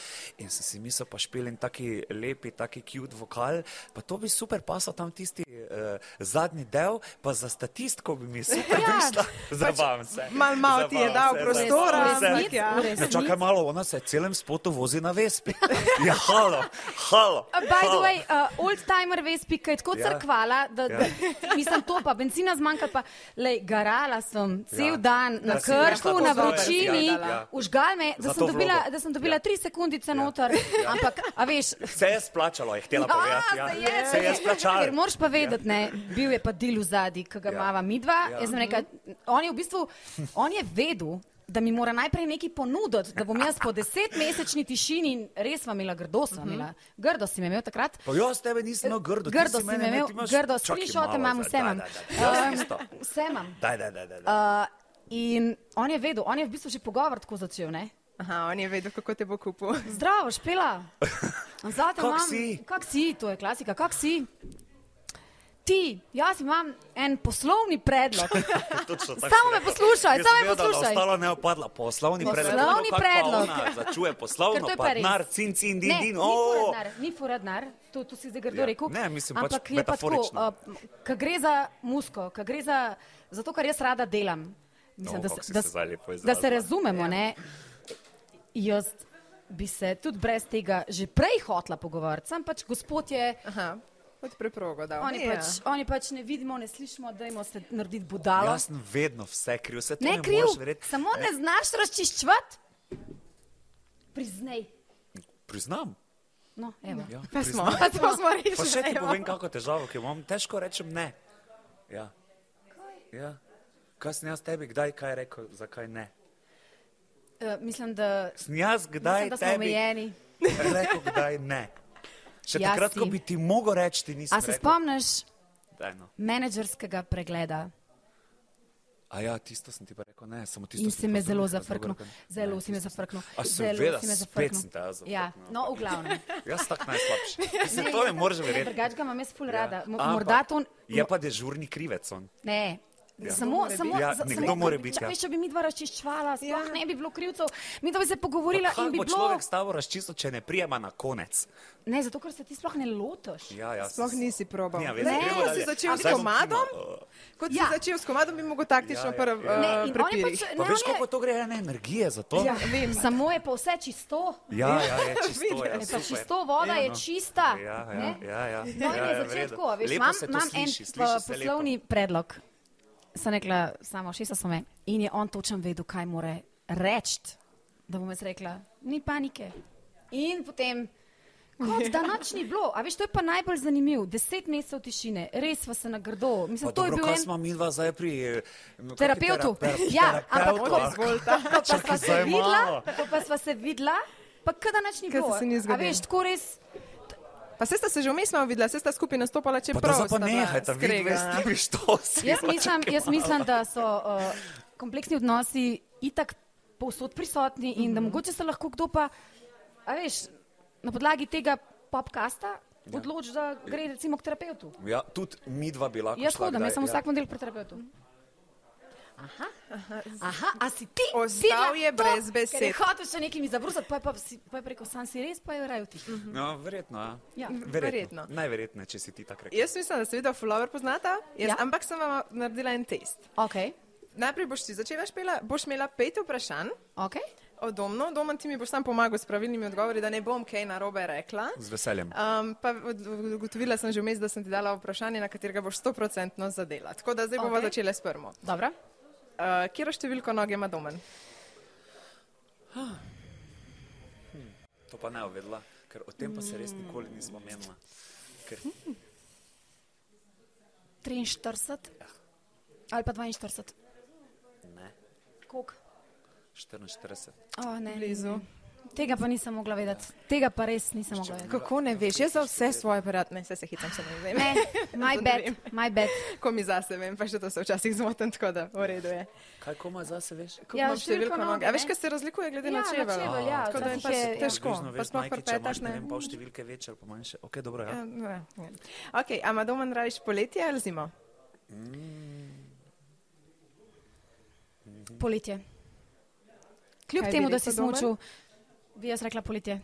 S2: In sem si mislil, pa špel in taki lepi, taki cute vokal, pa to bi super pasal tam tisti uh, zadnji del, pa za statistiko bi mi super *laughs*
S3: Ja,
S2: prišla. Zabavam se.
S1: Pač malo- malo ti je dal
S2: Zabavam se,
S1: prostora,
S2: zabavam se.
S1: ampak
S3: Resnic,
S1: Ja.
S2: Ne,
S3: resnic.
S2: čakaj malo, ona se je celem spotu vozi na vespi. *laughs* Ja, halo, halo.
S3: Uh, By the
S2: halo.
S3: way, uh, old timer vespi, ki je tako
S2: Oh. Ja.
S3: crkvala, da, da *laughs* mislim to pa, benzina zmanjka pa, lej, garala sem cel
S2: Ja.
S3: dan
S2: Da
S3: na
S2: si prišla
S3: krku,
S2: do
S3: na
S2: svoje,
S3: vročini,
S2: ja, ja.
S3: užgal me, da
S2: Za
S3: sem
S2: to
S3: dobila,
S2: vlogo.
S3: da sem dobila
S2: Ja.
S3: tri sekundice
S2: Ja.
S3: noter, ampak, a veš,
S2: Se je splačalo, je htela povedati.
S3: Ja,
S2: Ja. Se je splačalo.
S3: Ker moraš pa vedeti, ne, bil je pa del v zadnji, ki ga
S2: Ja.
S3: imava midva.
S2: Ja.
S3: Jaz sem rekla, on je v bistvu,
S2: *laughs*
S3: on je vedel, da mi mora najprej nekaj ponuditi, da bom jaz po desetmesečni tišini in res vam imela, grdo sem imela. Grdo si me imel takrat.
S2: Pa jaz tebe nisem imel Mhm. grdo. ti
S3: Grdo
S2: si
S3: si
S2: mene
S3: me
S2: imel,
S3: imel,
S2: ti imaš-
S3: grdo,
S2: Čakaj
S3: screenshot
S2: malo,
S3: imam,
S2: zdaj,
S3: vse
S2: daj,
S3: imam.
S2: daj, daj, jaz isto.
S3: Um, Vse imam.
S2: Daj, daj, daj, daj. daj.
S3: Uh, In on je vedel, on je v bistvu že pogovor tako začel, ne?
S1: Aha, on je vedel, kako te bo kupil.
S3: Zdravo,
S2: *laughs*
S3: špela. Zate
S2: Kak
S3: imam.
S2: si?
S3: Kak si, to je klasika, kak si? Ti, jaz imam en poslovni
S2: *laughs*
S3: predlog.
S2: Točno tako si
S3: Um, Samo me
S2: rekla.
S3: poslušaj,
S2: Jaz
S3: samo
S2: sem
S3: me
S2: vedel, da
S3: poslušaj.
S2: Ostalo ne opadla, poslovni predlog.
S3: Poslovni
S2: Kako pa
S3: predlog.
S2: ona Začuje
S3: Ker
S2: poslovno,
S3: to je pa
S2: pa
S3: res.
S2: nar, cin, cin, din,
S3: ne,
S2: din.
S3: ni
S2: o.
S3: furadnar, ni furadnar, to, to si zdaj grdo
S2: Ja.
S3: rekel.
S2: Ne, mislim, pač
S3: Ampak je pa tako,
S2: metaforično.
S3: ko gre za musko, ko gre za, za to, kar jaz rada delam. Mislim,
S2: O,
S3: da,
S2: No, kako si
S3: da,
S2: se zdaj lepo
S3: da
S2: izrazila.
S3: se razumemo, ja. ne? Jaz bi se tudi brez tega že prej hotla pogovarjati, sem pač gospod je.
S1: Aha, pod preprogo, da.
S3: Oni,
S1: Ja.
S3: ja. pač, oni pač ne vidimo, ne slišimo, da jim se naredi budalo.
S2: Jaz sem vedno vse kriv, vse to
S3: ne
S2: ne
S3: kriv,
S2: moreš verjeti.
S3: samo ne znaš razčiščevati. Priznaj.
S2: Priznam.
S3: No, evo.
S2: Ja,
S1: Pa smo,
S2: priznam.
S1: pa smo, smo
S2: Pa še ti
S1: rešili.
S2: povem, kako težavo, ki jo imam, težko rečem ne. Ja. Ja. Kaj sem jaz tebi, kdaj kaj rekel, zakaj ne?
S3: E, mislim, da,
S2: Sem jaz kdaj
S3: mislim, da smo
S2: tebi
S3: omejeni.
S2: rekel, kdaj ne? Še
S3: Jaz
S2: takrat, ko
S3: ti.
S2: bi ti mogel reči, ti nisem
S3: A se
S2: rekel.
S3: spomniš
S2: Daj, no.
S3: menedžerskega pregleda?
S2: A ja, tisto sem ti pa rekel, ne, samo tisto.
S3: In
S2: sem
S3: si
S2: ti
S3: me
S2: pa
S3: zelo
S2: sem rekel,
S3: zafrknil.
S2: dobro rekel, ne,
S3: Zelo si me
S2: tisto sem-
S3: zafrknil.
S2: A
S3: Zelo
S2: seveda,
S3: si me
S2: spet sem te
S3: zafrknil.
S2: jaz
S3: Ja,
S2: zafrknil.
S3: no, v glavnem.
S2: Jaz tak
S3: *laughs*
S2: najslabši. Mislim, to ne moreš verjeti. Ja.
S3: Drugač ga imam jaz ful rada. Mo-
S2: ampak
S3: Morda to...
S2: Je pa dežurni krivec on.
S3: Ne.
S2: Ja.
S3: Ja. Samo,
S1: Nekdo
S3: samo,
S2: biti. Ja,
S3: za-
S2: nekdo
S3: samo,
S2: mora biti,
S3: Če,
S2: ja.
S3: veš, če bi mi dva razčiščvala, sploh
S1: Ja.
S3: ja. ne bi bilo krivcev, mi dva bi se pogovorila
S2: Kako
S3: in bi
S2: bo
S3: bilo.
S2: človek stavo razčistil, če ne prijema na konec?
S3: Ne, zato ker se ti sploh ne lotiš.
S2: Ja, ja,
S1: Sploh nisi probal. Ne,
S2: Ne,
S3: gremo
S1: ko si
S3: dalje.
S1: začel s
S2: Zdaj bom
S1: komadom,
S2: kino, eh,
S1: kot si
S3: Ja.
S1: začel s komadom, bi mogel taktično
S2: Ja, ja,
S1: prv,
S2: ja.
S1: eh,
S3: Ne, in oni
S1: prepirih.
S3: pač, ne,
S2: Pa
S3: on
S2: veš,
S3: je-
S2: koliko to gre ene energije za to?
S3: Ja, vem. Samo je pa vse čisto.
S2: ja,
S3: *laughs*
S2: ja je čisto.
S1: Vidim,
S2: ja,
S3: Ne, pa
S2: super.
S3: čisto voda je
S2: no.
S3: čista.
S2: Ja, ja,
S3: ne.
S2: ja, ja.
S3: No, in
S2: ja,
S3: je
S2: ja,
S3: začel
S2: v redu.
S3: tako, a veš,
S2: Lepo
S3: imam,
S2: se to
S3: imam en
S2: sliši, sliši
S3: pa,
S2: se lepo.
S3: poslovni lepo. predlog. Sem rekla, samo šesta so me. In je on točen vedel, kaj mora reči. Da bom jaz rekla, ni panike. In potem, kot da noč ni bilo. A veš, to je pa najbolj zanimivo. Deset mesecev tišine, res vas je na grdo. Mislim,
S2: Pa
S3: to je
S2: dobro,
S3: bil
S2: kaj
S3: en
S2: smo mi dva zdaj pri... eh,
S3: terapeutu. Ja, ampak ko,
S2: kot...
S3: ko pa sva se
S2: zdaj malo.
S3: videla, ko pa sva se videla, pa kada noč ni
S1: Kaj se
S3: bilo.
S1: se ni
S3: A
S1: zgodilo.
S3: veš, tako res.
S1: Pa se sta se že vmes malo videla, se sta skupaj nastopala, če
S2: Pa
S1: prav.
S2: da zdaj pa
S1: sta bila
S2: nehajte, vi
S1: skregana.
S2: dve ste mi što si.
S3: Jaz mislim, jaz mislim da so uh, kompleksni odnosi itak povsod prisotni in
S1: Mhm.
S3: da mogoče se lahko kdo pa, a veš, na podlagi tega popkasta
S1: Ja.
S3: odloči, da gre recimo k terapeutu.
S2: Ja, tudi mi dva bila.
S3: Jaz hodim, jaz sem
S1: ja.
S2: ja.
S3: vsak model pri terapeutu. Aha, aha, a si ti?
S1: Ostal
S3: videla
S1: je
S3: to,
S1: brez
S3: Ker je
S1: besed.
S3: hotel še nekaj mi zabrusati, pa je pa, si- pa je rekel, sam si res, pa je raje vtih.
S1: Mhm.
S2: No, verjetno, ja.
S3: Ja.
S2: Verjetno.
S1: Verjetno.
S2: Najverjetneje, če si ti tak rekel.
S1: Jaz mislim, da se videla fulover poznata, jaz,
S3: Ja.
S1: ja. ampak sem vam naredila en test.
S3: Okay.
S1: Najprej boš ti začela špela, boš imela pet vprašanj
S3: Okay.
S1: o domno, domen ti mi boš sam pomagal s pravilnimi odgovori, da ne bom kaj narobe rekla.
S2: Z veseljem.
S1: Um, pa od- ugotovila sem že vmes, da sem ti dala vprašanje, na katerega boš stoprocentno zadela. Tako da zdaj bomo
S3: Okej.
S1: okay. začele s prvo.
S3: Dobro.
S1: Uh, Kjer številko noge ima domen?
S2: To pa ne uvedla, ker o tem pa se res nikoli nismo menila. Ker
S3: 43 ali pa 42.
S1: Ja.
S2: ne.
S3: Koliko?
S2: 44.
S3: Oh, ne.
S1: Blizu.
S3: Tega pa nisem mogla vedeti. Tega pa res nisem mogla vedeti.
S1: Kako ne veš? Jaz za vse svoje aparatne, vse se hitam, se ne *laughs* vem.
S3: Ne, my *laughs*
S1: To ne
S3: bad,
S1: vem.
S3: my bad.
S1: Ko mi zase vem, pa še to se včasih zmotim, tako da v redu je.
S2: Kaj koma zase veš?
S1: Ko
S3: Ja,
S1: imam številko
S3: številko
S1: nog. A veš,
S3: noge, ne?
S1: kaj se razlikuje glede
S3: Ja,
S1: na
S3: na
S1: čevelj?
S3: čevelj. ja,
S1: tako da je pač
S3: včasih je-
S1: težko.
S2: pač Približno
S1: Pa
S2: veš,
S1: sploh
S2: Majki,
S1: pri
S2: če imaš,
S1: petah
S2: ne
S1: ne.
S2: vem, pol številke večer, pa manjše. Ok, dobro, ja.
S1: Ja, ne, ne. Ok, a Madonna rajiš poletje ali zimo?
S3: Poletje. Kljub
S1: Kaj bi
S3: temu, da si
S1: rekel Domen?
S3: smučil, bi jaz rekla poletje.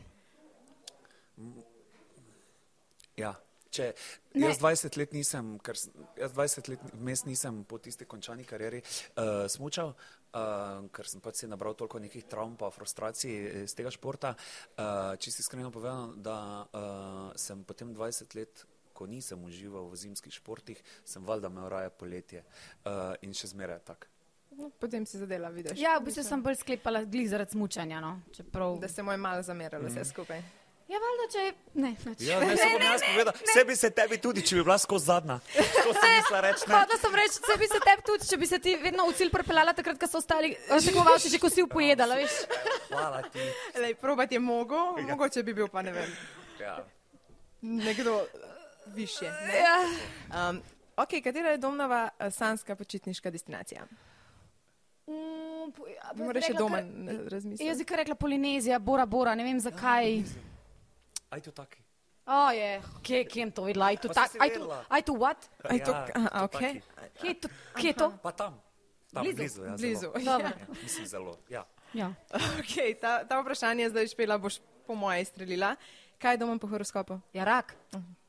S2: Ja. Če,
S3: Ne.
S2: jaz 20 let nisem, ker, s- jaz 20 let vmes nisem po tisti končani karieri uh, smučal, uh, ker sem pač si nabral toliko nekih travm pa frustracij eh, iz tega športa. Uh, čisto iskreno povedano, da uh, sem potem 20 let, ko nisem užival v zimskih športih, sem valjda imel raje poletje uh, in še zmeraj tak.
S1: No, Potem si zadela, vidiš.
S3: Ja, v bistvu sem bolj sklepala glih zaradi smučanja. No. Čeprav...
S1: Da se mu je malo zameralo vse skupaj.
S3: Ja, valjda, če je. Ne, noč.
S2: Ja, ne, se bom jaz povedal, vse bi se tebi tudi, če bi bila skozi zadnja. To sem mislila reči, *laughs* ne.
S3: Hodila sem reči, da bi se tebi tudi, če bi se ti vedno v cilj prepeljala, takrat, ko so ostali eh, tekmovalci, že ko si upojedala, veš.
S2: Hvala ti.
S1: Lej, probati je mogel, mogoče bi bil pa ne vem.
S2: Ja.
S1: Nekdo više. Ne?
S3: Ja.
S1: Um, ok, katera je domnova eh, sanska počitniška destinacija?
S3: Mm, po- ja, pa bi
S1: Moraš še
S3: rekla
S1: doma
S3: kar-
S1: razmisliti.
S3: Jaz bi kar rekla Polinezija, Bora Bora, ne vem zakaj.
S2: Aj to taki.
S3: O, je, kje, kje je to videla? Aj tu,
S2: Pa
S3: ta-
S2: si
S3: aj tu,
S2: vedela?
S3: aj tu, what?
S1: Aj to,
S2: Ja,
S1: aha,
S2: to
S1: ok.
S2: taki.
S3: Kje je to? Kje je to?
S2: Pa tam. Tam
S3: Blizu,
S2: blizu, blizu, ja,
S1: Blizu.
S2: Zelo.
S1: *laughs*
S3: Dobro.
S2: Ja, mislim zelo. Ja.
S3: Ja.
S1: Okay, ta, ta vprašanje zdaj špela boš po moje izstrelila. Kaj je doma po horoskopu?
S3: ja, rak.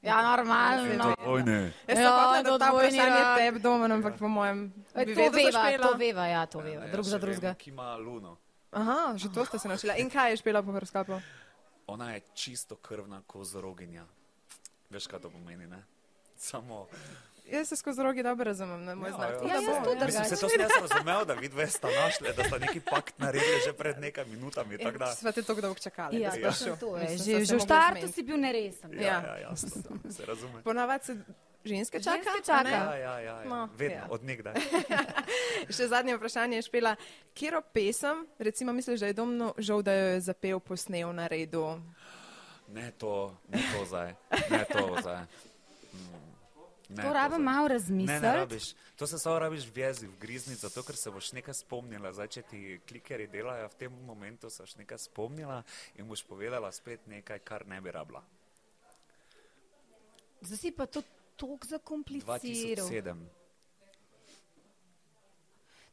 S3: Ja,
S1: No.
S3: normalno.
S2: Vojne.
S1: Jaz sem
S3: Ja,
S1: hotela, da ta
S3: dvojni
S1: vprašanje
S3: rak.
S1: tebi doma, ampak po mojem
S3: E,
S1: bi
S3: To
S1: vedela, da
S3: veva,
S1: špela.
S3: to veva, ja, to veva. Drug za drugega.
S2: Ki ima luno.
S1: Aha, že to ste se naučila. In kaj je špela po horoskopu?
S2: Ona je čisto krvna kozoroginja. Veš, kaj to pomeni, ne? Samo.
S1: Jaz se skozi rogi dobro razumem, na moj znak. tako da
S3: Ja, jaz
S1: bo.
S3: tudi.
S2: Mislim, se to sem jaz razumel, da vidve sta našli, da sta neki pakt naredili že pred nekaj minutami. tako da-
S1: E, Sva te tako dolgo čakali.
S3: Ja,
S1: da si
S2: Ja.
S1: prišel.
S3: točno to je.
S1: Mislim,
S3: Že,
S1: sva se
S3: že v
S1: mogla
S3: startu
S1: zmeniti.
S3: si bil neresen.
S1: Ja.
S2: Ja, ja, jasno, se razume.
S1: Ponavadi se ženske čaka.
S3: Ženske
S1: a ne?
S2: Ja,
S3: čaka.
S2: ja, ja, ja.
S1: No,
S2: vedno,
S1: ja.
S2: od nekdaj.
S1: Še zadnje vprašanje je špela. Kjero pesem, recimo misliš, da je domno žal, da jo je zapel, posnel na redu?
S2: Ne to, ne to zdaj, ne to zdaj. Mm. Ne
S3: To rabim
S2: zdaj.
S3: malo
S2: Ne, ne
S3: razmisliti.
S2: rabiš. To se samo rabiš v jezi, v grizni, zato ker se boš nekaj spomnila. Zdaj, če ti klikeri delajo, v tem momentu se boš nekaj spomnila in boš povedala spet nekaj, kar ne bi rabila.
S3: Zdaj si pa to tako zakompliciral.
S2: 2007.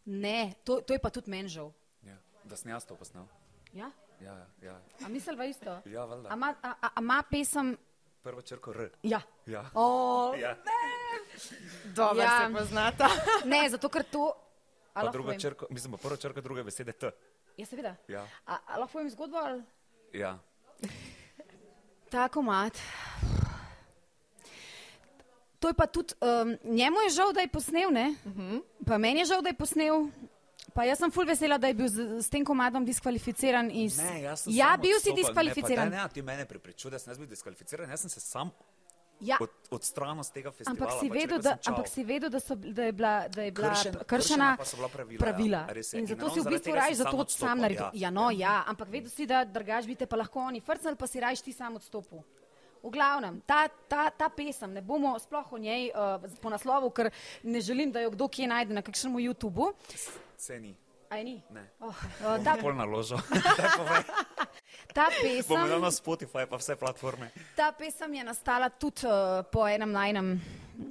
S3: Ne, to, to je pa tudi meni žal.
S2: Ja. Da sem jaz to posnel.
S3: Ja?
S2: Ja, ja,
S3: A misliva isto?
S2: ja valjda.
S3: A ima- a- a- a ima pesem?
S2: Prvo črko R.
S3: Ja.
S2: Ja.
S3: O,
S2: ja.
S1: Dobro
S3: Ja.
S1: ja. se poznata. *laughs*
S3: ne, zato ker to. a
S2: Pa
S3: lahko
S2: drugo
S3: povem?
S2: črko, mislim, pa prvo črko druge besede T.
S3: Ja, seveda.
S2: Ja.
S3: A, a lahko povem zgodbo? Ali?
S2: Ja.
S3: Tako mat. To je pa tudi, um, njemu je žal, da je posnel, ne? Uh -huh. Pa meni je žal, da je posnel. Pa jaz sem ful vesela, da je bil z, z tem komadom diskvalificiran. Iz...
S2: Ne, jaz sem
S3: ja,
S2: sam
S3: bil si
S2: odstopil.
S3: diskvalificiran.
S2: Ne, pa daj, ne, ti mene prepričuje, da sem jaz bil diskvalificiran. Jaz sem se sam
S3: ja.
S2: od, odstranil z tega festivala.
S3: Ampak si,
S2: pač
S3: vedel,
S2: rekel
S3: da,
S2: sem čao.
S3: ampak si vedel, da, so, da je bila, da je bila
S2: Kršen-
S3: p-
S2: kršena
S3: kršena
S2: pa so bila pravila,
S3: pravila.
S2: ja, res je.
S3: In
S2: In
S3: zato
S2: ravno
S3: si v
S2: zaradi
S3: bistvu
S2: tega si
S3: rajš
S2: sam
S3: zato
S2: odstopil,
S3: sam naredil.
S2: ja.
S3: Ja, no, ja, ampak vedel si, da drugač bi te pa lahko oni frcnili, pa si rajš ti sam odstopil. V glavnem, ta, ta, ta pesem, ne bomo sploh o njej uh, po naslovu, ker ne želim, da jo kdo kje najde na kakšnem YouTubu.
S2: Se ni.
S3: A je ni?
S2: Ne.
S3: Oh, uh, ta,
S2: Da. Pol
S3: *laughs*
S2: naložil. *laughs*
S3: ta
S2: Bomo
S3: pesem.
S2: dal na Spotify pa vse platforme.
S3: Ta pesem je nastala tudi uh, po enem najnem.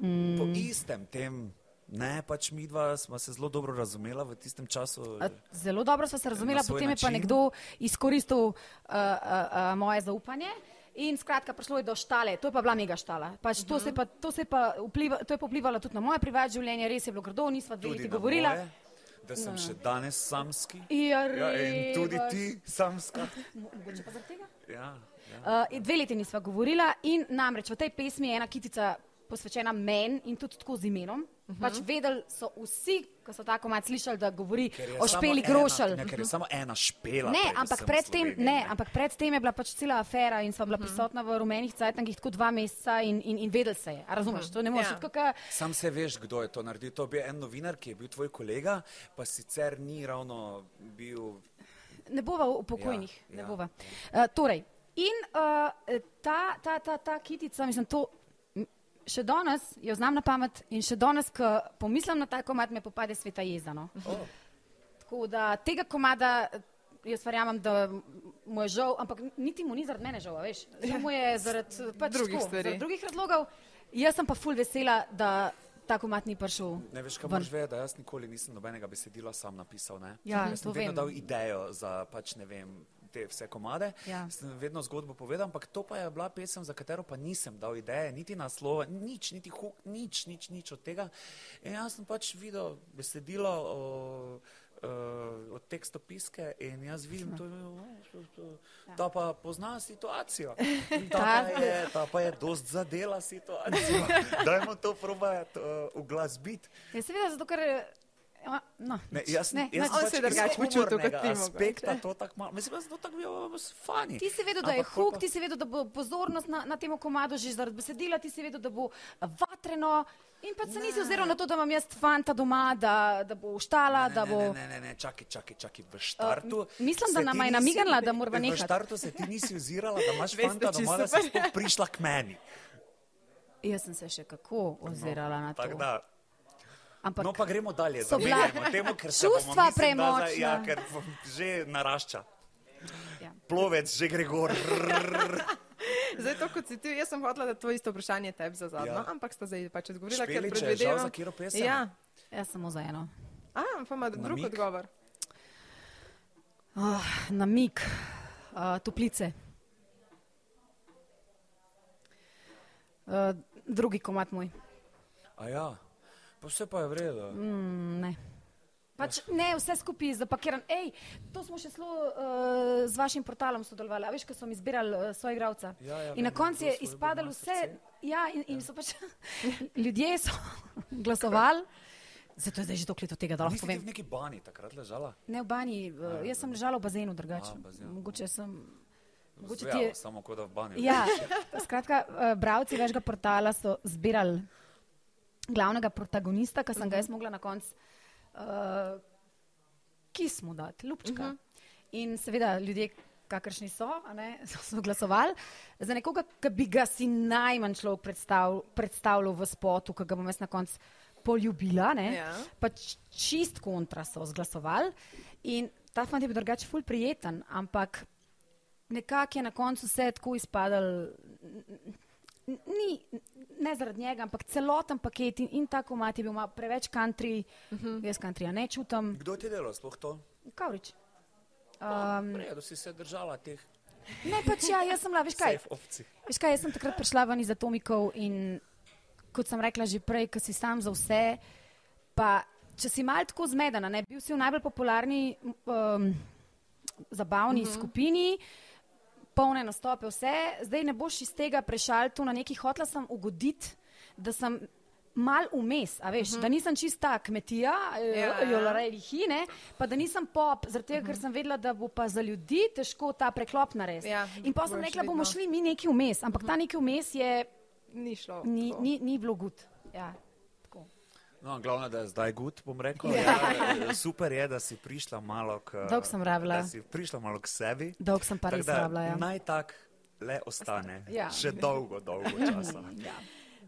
S3: Mm,
S2: Po istem tem. Ne, pač mi dva smo se zelo dobro razumela v tistem času.
S3: A, Zelo dobro sva se razumela,
S2: Na svoj
S3: potem je pa
S2: način.
S3: nekdo izkoristil uh, uh, uh, moje zaupanje. In skratka, prišlo je do štale, to je pa bila mega štala. Pač to, se je pa, to, se je pa vpliva, to je pa vplivalo tudi na moje privatno življenje, res je bilo grdo, nisva dve
S2: Tudi
S3: leti
S2: na
S3: govorila. No.
S2: moje, Da sem še danes samski.
S3: Ja,
S2: Ja, in tudi
S3: res.
S2: ti samska.
S3: Mo- Mogoče pa zaradi tega?
S2: Ja, ja.
S3: Uh, in dve leti nisva govorila in namreč v tej pesmi je ena kitica posvečena meni in tudi tako z imenom. -huh. Pač vedeli so vsi, ko so tako malo slišali, da govori
S2: Ker je
S3: o
S2: samo
S3: špeli
S2: ena-
S3: grošelj.
S2: Ne, ker je samo ena špela.
S3: Ne,
S2: predvsem
S3: ampak
S2: v
S3: predtem
S2: Sloveniji,
S3: ne, ampak predtem je bila pač cela afera in sem bila prisotna v rumenih cajtangih tako dva meseca in, in, in vedel se je. A Razumeš, to ne moreš.
S1: Ja.
S3: Tako ka-
S2: Sam se veš, kdo je to naredil. To je bil en novinar, ki je bil tvoj kolega, pa sicer ni ravno bil.
S3: Ne bova o pokojnih,
S2: Ja,
S3: ne
S2: ja.
S3: bova. Uh, torej, in uh, ta, ta, ta, ta kitica, mislim, to m, še danes jo znam na pamet in še danes, ko pomislim na ta komad, me popade sveta jezda. No.
S2: Oh.
S3: Tako da tega komada, jaz verjamem, da mu je žal, ampak niti mu ni zaradi mene žal, a veš. Samo je
S2: *laughs*
S3: zaradi pač
S1: Drugih
S3: tako,
S1: stvari.
S3: zaradi drugih razlogov. Jaz sem pa ful vesela, da ta komad ni prišel.
S2: Ne veš, kaj
S3: ven.
S2: moraš vedeti, da jaz nikoli nisem nobenega besedila sam napisal. Ne?
S3: Ja,
S2: jaz sem
S3: to
S2: vedno
S3: vem.
S2: dal idejo za pač ne vem. Te vse komade,
S3: Ja.
S2: sem vedno zgodbo povedal, ampak to pa je bila pesem, za katero pa nisem dal ideje, niti naslova, nič, niti huk, nič, nič, nič od tega. In jaz sem pač videl besedilo o, o, od tekstopiske in jaz vidim, to, to, to,
S3: Ja.
S2: ta pa pozna situacijo, ta pa je, ta pa je dost zadela
S3: *laughs*
S2: situacijo. Dajmo to probati uh, uglasbiti.
S3: Ja, seveda, zato ker. ja, No,
S2: Ne,
S3: nič.
S2: jaz, ne, jaz
S3: nič.
S1: On se
S2: pač
S1: drugače
S2: iz
S1: počutil kot
S2: humornega
S1: ti mogoče.
S2: Aspekta, to tako malo. Mislim, da sem to tako bil fani.
S3: Ti si vedel, da je
S2: Ampak pol
S3: huk,
S2: pa-
S3: ti si vedel, da bo pozornost na, na tem komadu že zaradi besedila, ti si vedel, da bo vatreno. In pa se nisi oziral na to, da imam jaz fanta doma, da, da bo uštala,
S2: Ne,
S3: da
S2: ne,
S3: bo.
S2: Ne, ne, ne, ne, čakaj, čakaj, čakaj, v štartu.
S3: mi- mislim, da
S2: se
S3: nama
S2: ti nisi-
S3: je namignila, da morava
S2: V
S3: nehat.
S2: štartu se ti nisi ozirala, da
S3: *laughs*
S2: imaš
S1: Veste,
S2: fanta
S1: čisto
S2: doma, da si
S1: super.
S2: sploh prišla k meni.
S3: Jaz sem se še kako ozirala no, *laughs* na to.
S2: Tako da.
S3: Ampak
S2: No, pa gremo dalje.
S3: so bila
S2: zamenjajmo temo, ker se bomo,
S3: čustva
S2: mislim, da za- Ja,
S3: premočna.
S2: ker bom že narašča.
S3: Ja.
S2: Plovec že gre
S3: *laughs*
S2: gor.
S1: Zdaj, to, kot si ti, jaz sem hotela, da to isto vprašanje tebi za zadnjo,
S2: Ja.
S1: ja. ampak sta zdaj pač odgovorila, ker
S2: Špeliče, žal
S1: predvidevam.
S2: za katero pesem?
S1: Ja,
S3: Jaz samo za eno.
S1: a, pa ima drug
S2: Namig?
S1: odgovor.
S3: Oh, namik, uh, toplice. Uh, drugi komat moj.
S2: A ja, pa vse pa je v redu.
S3: Mm, ne. Pač ne, vse skupaj je zapakiran. Ej, to smo še zelo uh, z vašim portalom sodelovali. A veš, ko smo izbirali uh, svojega igralca.
S2: Ja, ja,
S3: in na
S2: vem,
S3: koncu
S2: kdo
S3: je
S2: svoj bo
S3: izpadalo
S2: imel
S3: vse.
S2: srce.
S3: Ja, in, in so pač *laughs* ljudje so *laughs* glasovali. Zato je zdaj že toliko let od tega, da lahko
S2: Nisi ti
S3: povem.
S2: v neki bani takrat ležala?
S3: Ne v banji, uh, jaz sem ležala v bazenu
S2: A,
S3: drugače.
S2: v bazenu. ja,
S3: Mogoče sem. Mogoče ti
S2: Zvejalo,
S3: je,
S2: samo kot da v bani.
S3: ja, skratka, uh, bravci večjega portala so zbirali glavnega protagonista, ki sem ga jaz mogla na koncu, uh, ki smo dati, ljubčka. In seveda ljudje, kakršni so, a ne, *laughs* so, so glasovali za nekoga, ki bi ga si najmanj človek predstavl, predstavljal v spotu, ki ga bom jaz na koncu poljubila. Ne,
S1: Ja.
S3: Pač čist kontra so zglasovali. In ta fant je bil drugače ful prijeten, ampak nekako je na koncu vse tako izpadalo. n- Ni, ne zaradi njega, ampak celoten paket in, in tako mat je bil malo preveč country, uh -huh. jaz countryja ne čutim.
S2: Kdo ti je delal sploh to?
S3: Kavrič.
S2: Um, Redo si se držala teh
S3: Ne, pač ja, jaz sem bila, veš kaj.
S2: safe opcij.
S3: Veš kaj, jaz sem takrat prišla ven iz atomikov in kot sem rekla že prej, ki si sam za vse, pa če si mal tako zmedena, ne, bil si v najbolj popularni um, zabavni mm
S1: Mhm.
S3: -hmm. skupini, polne nastope, vse, zdaj ne boš iz tega prešal tu na neki, hotla sem ugoditi, da sem mal vmes, a veš, mm -hmm. da nisem čista kmetija,
S1: Mhm.
S3: eh,
S1: Ja, Mhm. ja.
S3: jo larej lihine, pa da nisem pop, zaradi tega, ker sem vedela, da bo pa za ljudi težko ta preklop narediti.
S1: Ja,
S3: In pa sem
S1: boš
S3: rekla, bomo
S2: no."
S1: vedno-
S3: šli mi neki vmes, ampak ta neki vmes je,
S1: Ni šlo.
S3: ni,
S1: tako.
S3: ni, ni bilo gut. Ja, tako.
S2: No, glavno, da je zdaj gut, bom rekel. Ja, super je, da si prišla malo k,
S3: Dolgo sem rabila.
S2: da si prišla malo k sebi.
S3: Dolgo sem pa
S2: Tako
S3: res
S2: da
S3: rabila, ja.
S2: Naj tak le ostane.
S3: Ja.
S2: Še dolgo,
S3: *laughs*
S2: dolgo
S3: Mm,
S2: časa.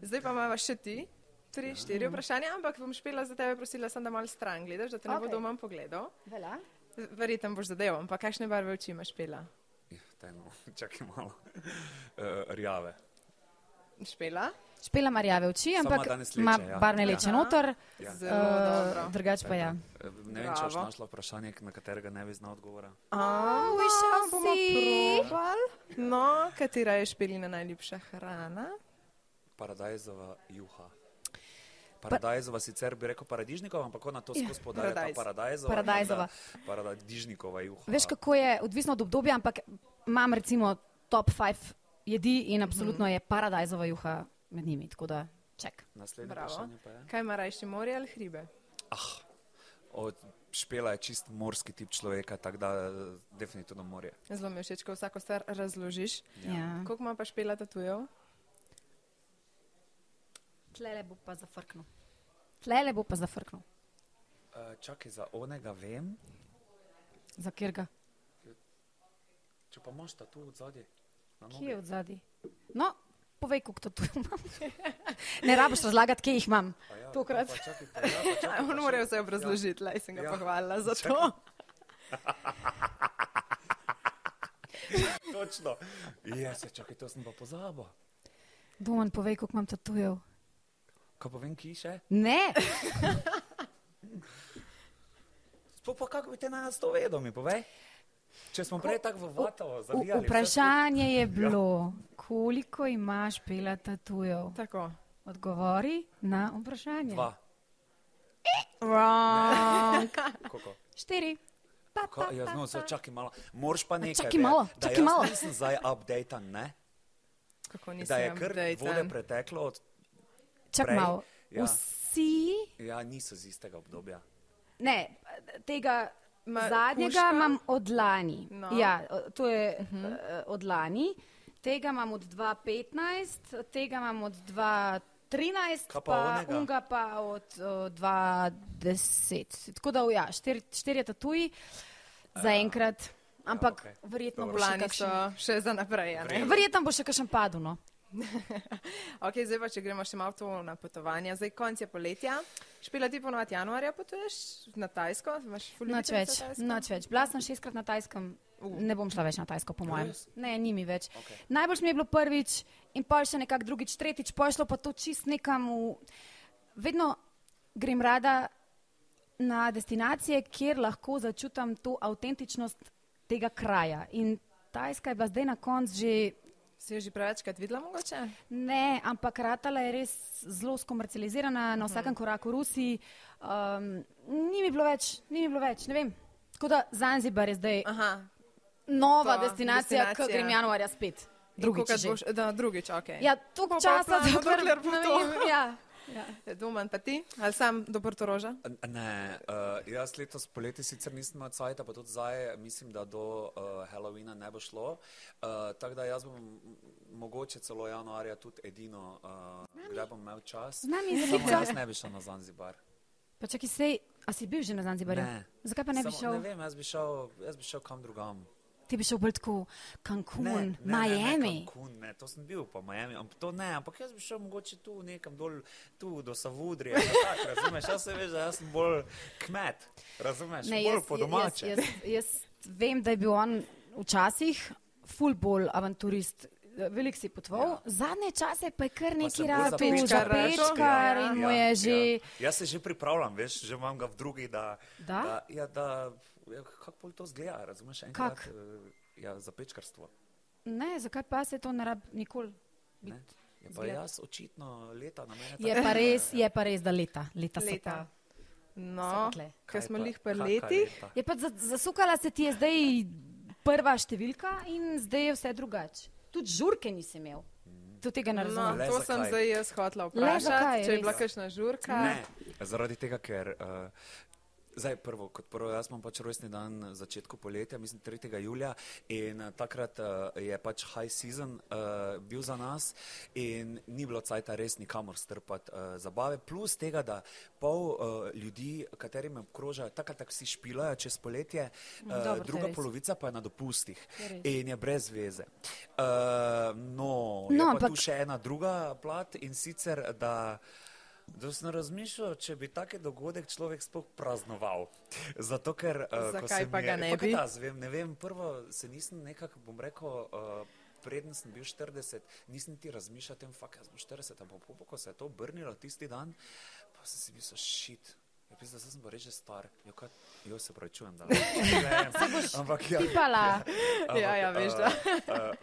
S1: Zdaj pa imamo še ti. Tri,
S2: Ja.
S1: štiri vprašanja, ampak bom špela za tebe, prosila sem, da malo stran gledaš, da te ne okay.
S3: Okej.
S1: bodo manj pogledal.
S3: Vela?
S1: Verjetno boš zadeval, ampak kakšne barve oči imaš špela?
S2: Ja, Tajno, čakaj malo. Uh, rjave.
S1: Špela?
S3: Špela ima rjave oči,
S2: Sama
S3: ampak
S2: danes leče,
S3: ima
S2: ja.
S3: barne
S2: Ja.
S3: leče noter,
S2: Ja.
S1: Zelo dobro.
S3: uh, drugače pa ja.
S2: Eh, Ne vem, če boš
S1: Bravo.
S2: našla vprašanje, na katerega ne bi znal odgovora.
S1: A,
S3: we shall
S1: bomo
S3: see.
S1: probal. No, katera je špelina najljubša hrana?
S2: Paradajzova juha. Paradajzova sicer bi rekel paradižnikova, ampak ona to skozi podarja. ta
S1: paradajz.
S2: Paradajzova.
S3: Ja, Paradajzova.
S2: tako da Paradižnikova juha.
S3: Veš, kako je, odvisno od obdobja, ampak imam
S2: Mhm.
S3: recimo top 5 jedi in absolutno je paradajzova juha med njimi. Tako da Ček.
S2: Naslednje
S1: Bravo.
S2: vprašanje pa je.
S1: Kaj ima rajši morje ali hribe?
S2: Ah, od Špela je čist morski tip človeka, tako da eh, definitivno morje.
S1: Zelo mi je všeč, ko vsako stvar razložiš.
S3: Ja.
S1: Koliko ima pa špela tatujev?
S3: Tlele bo pa zafrknil. Tlele bo pa zafrknil.
S2: Uh, čakaj, za onega vem,
S3: Za kjer ga?
S2: če pa imaš ta tu zadnji.
S3: Kje je od zadaj? No, povej, koliko to tu imam. *laughs* ne rabiš razlagati, kje jih imam. Tokrat.
S2: Pa čakaj, pa,
S3: *laughs*
S2: ja, pa čakaj,
S1: *laughs* On
S2: pa
S1: mora
S2: še-
S1: vse obrazložiti, laj sem ga
S2: Ja.
S1: pohvalila za to.
S2: Ja, točno. Ja, se čakaj, to sem pa pozabil.
S3: Domen, povej, koliko imam tatujev.
S2: Kaj pa vem, ki še?
S3: Ne,
S2: Sploh pa kako bi te na nas to vedel, mi povej. Če smo prej tako v vato
S3: v,
S2: zavijali.
S3: vprašanje
S2: Ja.
S3: je bilo, koliko imaš pela tatujev.
S1: Tako.
S3: Odgovori na vprašanje.
S2: Dva.
S3: Wrong.
S2: Koliko?
S3: Štiri. Pa,
S2: Ka,
S3: pa,
S2: ja,
S3: pa,
S2: no,
S3: pa.
S2: zdaj čakaj malo. Moraš pa nekaj.
S3: čakaj
S2: ve-
S3: malo,
S2: da
S3: čakaj
S2: jaz
S3: malo.
S2: Nisem zdaj updated, ne?
S1: Kako
S2: Da je
S1: nisem
S2: kar vode
S1: updatean.
S2: preteklo od
S3: Čak
S2: prej,
S3: malo.
S2: ja.
S3: Vsi,
S2: Ja, niso z istega obdobja.
S3: ne, tega
S1: Ma,
S3: zadnjega
S1: kužka?
S3: imam od lani.
S1: No. Mhm.
S3: Ja, o- to je uh -huh. od lani. Tega imam od 2015, tega imam od 2013,
S2: Kaj pa
S3: pa
S2: onega?
S3: unga pa od uh, 2010. Tako da, ja, štiri, štirje tatuji zaenkrat, ampak
S2: Ja, okej.
S3: verjetno
S2: Dobro.
S3: bo še
S1: Plani No, so
S3: kakšen.
S1: še za naprej. a ne?
S3: Verjetno bo še kakšen padel. No.
S1: Okay, zdaj pa, če gremo še malo to na potovanja, zdaj konc je poletja. Špila ti ponovadi januarja potuješ na Tajsko, imaš
S3: Noč
S1: fulminate
S3: več, noč več. Bila sem šestkrat na Tajskem, uh. ne bom šla več na Tajsko, po mojem.
S2: res?
S3: Ne, nimi več. Okay. Najbolj mi je bilo prvič in pa še nekako drugič, tretjič, pa je šlo pa to čist nekam v. Vedno grem rada na destinacije, kjer lahko začutim to avtentičnost tega kraja. In Tajska je bila zdaj na koncu že
S1: Si jo že prevečkrat videla mogoče?
S3: Ne, ampak Ratala je res zelo skomercializirana,
S2: Mhm.
S3: na vsakem koraku Rusi. Um, ni mi bilo več, ni mi bilo več, ne vem. Tako da Zanzibar je zdaj
S1: Aha,
S3: nova
S1: to,
S3: destinacija,
S1: destinacija.
S3: ki grem januarja spet. Drugič.
S1: Kolikokrat
S3: že.
S1: boš, da, drugič, ok.
S3: Ja, toliko
S1: Po
S3: časa,
S1: planu,
S3: dokler,
S1: dokler bo
S3: ne
S1: to.
S3: vem,
S2: *laughs*
S3: ja. Ja.
S1: Doman pa ti, ali sam do Portoroža?
S2: N- Ne, uh, jaz letos poleti sicer nisem imel cajt, pa tudi zdaj mislim, da do uh, Halloweena ne bo šlo. Uh, tako da jaz bom m- mogoče celo januarja tudi edino, uh, kdaj bom imel čas.
S3: Z nami je
S2: Samo
S3: Zelica.
S2: jaz ne bi šel na Zanzibar.
S3: Pa čakaj, sej, a si bil že na Zanzibarju?
S2: Ne.
S3: Zakaj pa ne bi
S2: Samo-
S3: šel?
S2: Ne vem, jaz bi šel, jaz bi šel kam drugam.
S3: Ti bi šel bolj tako, Cancun,
S2: Ne, ne, Ne, ne,
S3: Miami.
S2: Cancun, ne, to sem bil pa Miami, ampak to ne, ampak jaz bi šel mogoče tu nekam dol, tu do Savudrije, pa tako, razumeš, jaz se veš, da jaz sem bolj kmet, razumeš, bolj po domače.
S3: Jaz, jaz, jaz vem, da je bil on včasih ful bolj avanturist. Veliko si potoval, ja. zadnje čase pa je kar neki
S2: sem bolj
S3: rad
S2: zapečkar
S1: račal.
S3: zapečkar
S1: Ja,
S3: in mu je že.
S2: Ja. Jaz se že pripravljam, veš, že imam ga v drugi, da.
S3: Da?
S2: da, ja, da ja, kako bolj to zgleda, razumeš? Enkrat,
S3: Kak?
S2: eh, Ja, za pečkarstvo.
S3: Ne, zakaj pa se to ne rabi nikoli?
S2: Ne? Je pa
S3: Zgled.
S2: jaz očitno leta na mene.
S3: Je
S2: tako-
S3: pa
S2: *laughs*
S3: res, je pa res, da leta. leta, so
S1: Leta.
S3: Pa.
S1: No,
S3: so pa tle.
S2: Kaj
S1: ker smo
S2: pa-
S1: lih pri
S2: kaka
S1: letih.
S2: leta?
S3: Je pa za- zasukala se ti je zdaj prva številka in zdaj je vse drugače. Tudi žurke nisi imel. Do tega ne
S1: No,
S3: razumem.
S2: Le
S1: to sem
S2: zakaj?
S1: zdaj jaz hotla
S3: zakaj,
S1: vprašati, če je
S3: res?
S1: bila kakšna
S3: Ja,
S1: žurka.
S2: Ne, zaradi tega, ker. Uh, Zdaj, prvo, kot prvo, jaz imam pač rojstni dan na začetku poletja, mislim 3. julija in uh, takrat uh, je pač high season uh, bil za nas in ni bilo cajta res nikamor strpati uh, zabave, plus tega, da pol uh, ljudi, kateri me obkrožajo, takrat tak vsi špilajo čez poletje, uh,
S3: dobro, to je
S2: druga
S3: res.
S2: polovica pa je na dopustih
S3: To je res.
S2: in je brez veze. Uh, no, je
S3: No,
S2: pa tu
S3: ampak-
S2: še ena druga plat in sicer, da, da sem razmišljal, če bi take dogodek človek sploh praznoval. *laughs* Zato, ker eh, ko
S1: Zakaj
S2: se
S1: pa
S2: mi
S1: ga
S2: je,
S1: ne
S2: pa kaj
S1: bi?
S2: Jaz vem, ne vem, prvo se nisem nekako, bom rekel, eh, preden sem bil 40, nisem ti razmišljal o tem, fakt, jaz bom 40, ampak popo, ko se je to obrnilo tisti dan, pa sem si mislil, šit. Ja, pizda, zdaj sem pa reče star, jo, kaj, jo se pravi, čujem,
S1: *laughs*
S2: da lahko. Ampak ja. *laughs*
S3: Tipala.
S1: Ja, ja, veš, da.
S2: Uh,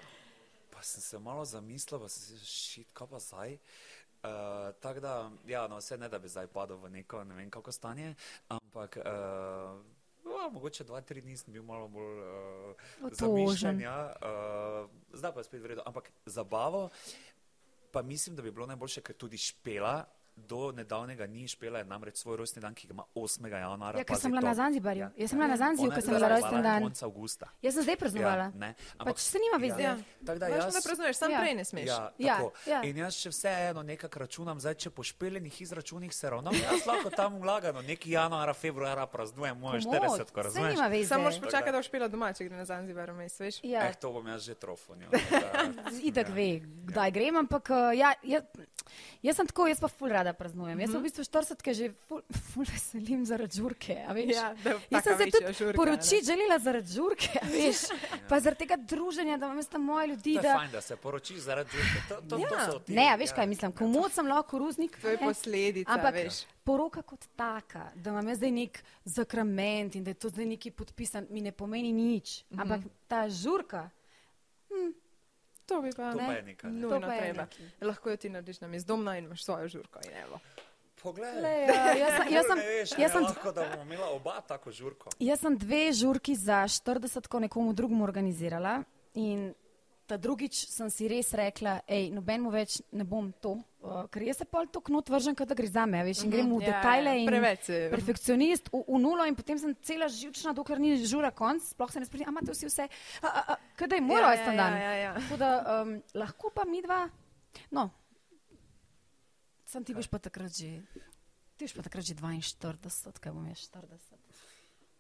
S2: pa sem se malo zamislil, pa sem si rekel, šit, kaj pa zdaj. Uh, tako da, ja, no, vse ne, da bi zdaj padel v neko, ne vem kako stanje, ampak uh, no, mogoče dva, tri dni sem bil malo bolj eh, uh,
S3: Otožen.
S2: zamišljen, ja, uh, zdaj pa je spet v redu, ampak zabavo. Pa mislim, da bi bilo najboljše, ker tudi špela. Do nedavnega ni špela, je namreč svoj rojstni dan, ki ga ima 8. januarja.
S3: Ja, ker
S2: pazi
S3: sem bila
S2: to.
S3: na Zanzibarju.
S2: Ja.
S3: Jaz sem bila na Zanzibarju,
S2: Ona
S3: ker
S2: je
S3: sem bila rojsten
S2: praznovala
S3: dan.
S2: konec avgusta.
S3: Jaz sem zdaj praznovala.
S2: Ja, ne, ampak-
S3: pač se nima veze.
S1: Ja.
S3: Ja.
S2: Tako da
S1: Važno,
S2: jaz-
S1: da praznuješ, sam
S3: Ja.
S1: prej ne smeš.
S2: Ja,
S3: Ja,
S2: tako.
S3: ja.
S2: In jaz še vseeno nekako računam, zdaj, če po špeljenih izračunih se ravnam, jaz lahko tam vlagano, neki januara, februara praznujem moje 40, ko
S3: se nima
S2: razumem.
S3: veze.
S1: Samo moraš počakati, da boš pila doma, če gre na Zanzibar, vmes, veš.
S3: Ja,
S2: Eh, to bom jaz že trofonil.
S3: *laughs*
S2: tako da-
S3: Itak ja. ve, kdaj ja. grem, ampak eh, ja, jaz, jaz sem tako, jaz pa ful rada praznujem. Jaz
S1: Mhm.
S3: sem v bistvu 40 že ful, *laughs* ful veselim zaradi žurke. a veš.
S1: Ja, da taka
S3: jaz sem se
S1: večja
S3: tudi
S1: žurka, Ja.
S3: poročiti želela zaradi žurke, a
S1: *laughs*
S3: veš. Pa zaradi tega druženja, da imam tam moje ljudi.
S2: To je
S3: Da,
S2: fajn, da se poročiš zaradi žurke. To, to, to
S1: Ja.
S2: so ti,
S3: ne, a veš
S2: ja.
S3: kaj mislim, komod sem lahko ruznik.
S1: To je
S3: ne.
S1: posledica,
S3: Ampak
S1: veš.
S3: poroka kot taka, da imam jaz zdaj nek zakrament in da je to zdaj neki podpisan, mi ne pomeni nič.
S1: Mhm.
S3: Ampak mm -hmm. ta žurka,
S1: To bi pa
S2: To pa
S1: ne.
S2: je nekaj. ne.
S1: Nujno
S3: To pa je
S1: treba.
S3: nekaj.
S1: Lahko jo ti narediš na mest domna in imaš svojo žurko. in evo.
S2: Poglej.
S3: le, ja, jaz sem, jaz sem,
S2: Ne veš,
S3: jaz sem,
S2: lahko, da bomo imela oba tako žurko.
S3: Jaz sem dve žurki za 40, ko nekomu drugemu organizirala. In ta drugič sem si res rekla, hej, nobenemu več ne bom to, uh, ker jaz se pol to knot vržem, kot da gre za me, a veš, in grem v
S1: ja,
S3: detajle.
S1: ja,
S3: in
S1: preveč se-
S3: Perfekcionist v, v nulo in potem sem cela živčna, dokler ni žura konc, sploh se ne spomnim, amate vsi vse, a, a, a, kaj da je
S1: Ja,
S3: moj
S1: ja,
S3: rojsten dan.
S1: ja, ja, ja.
S3: Tako da um, lahko pa mi dva, no, sem ti boš pa takrat že, ti boš pa takrat že 42, kaj bom jaz 40.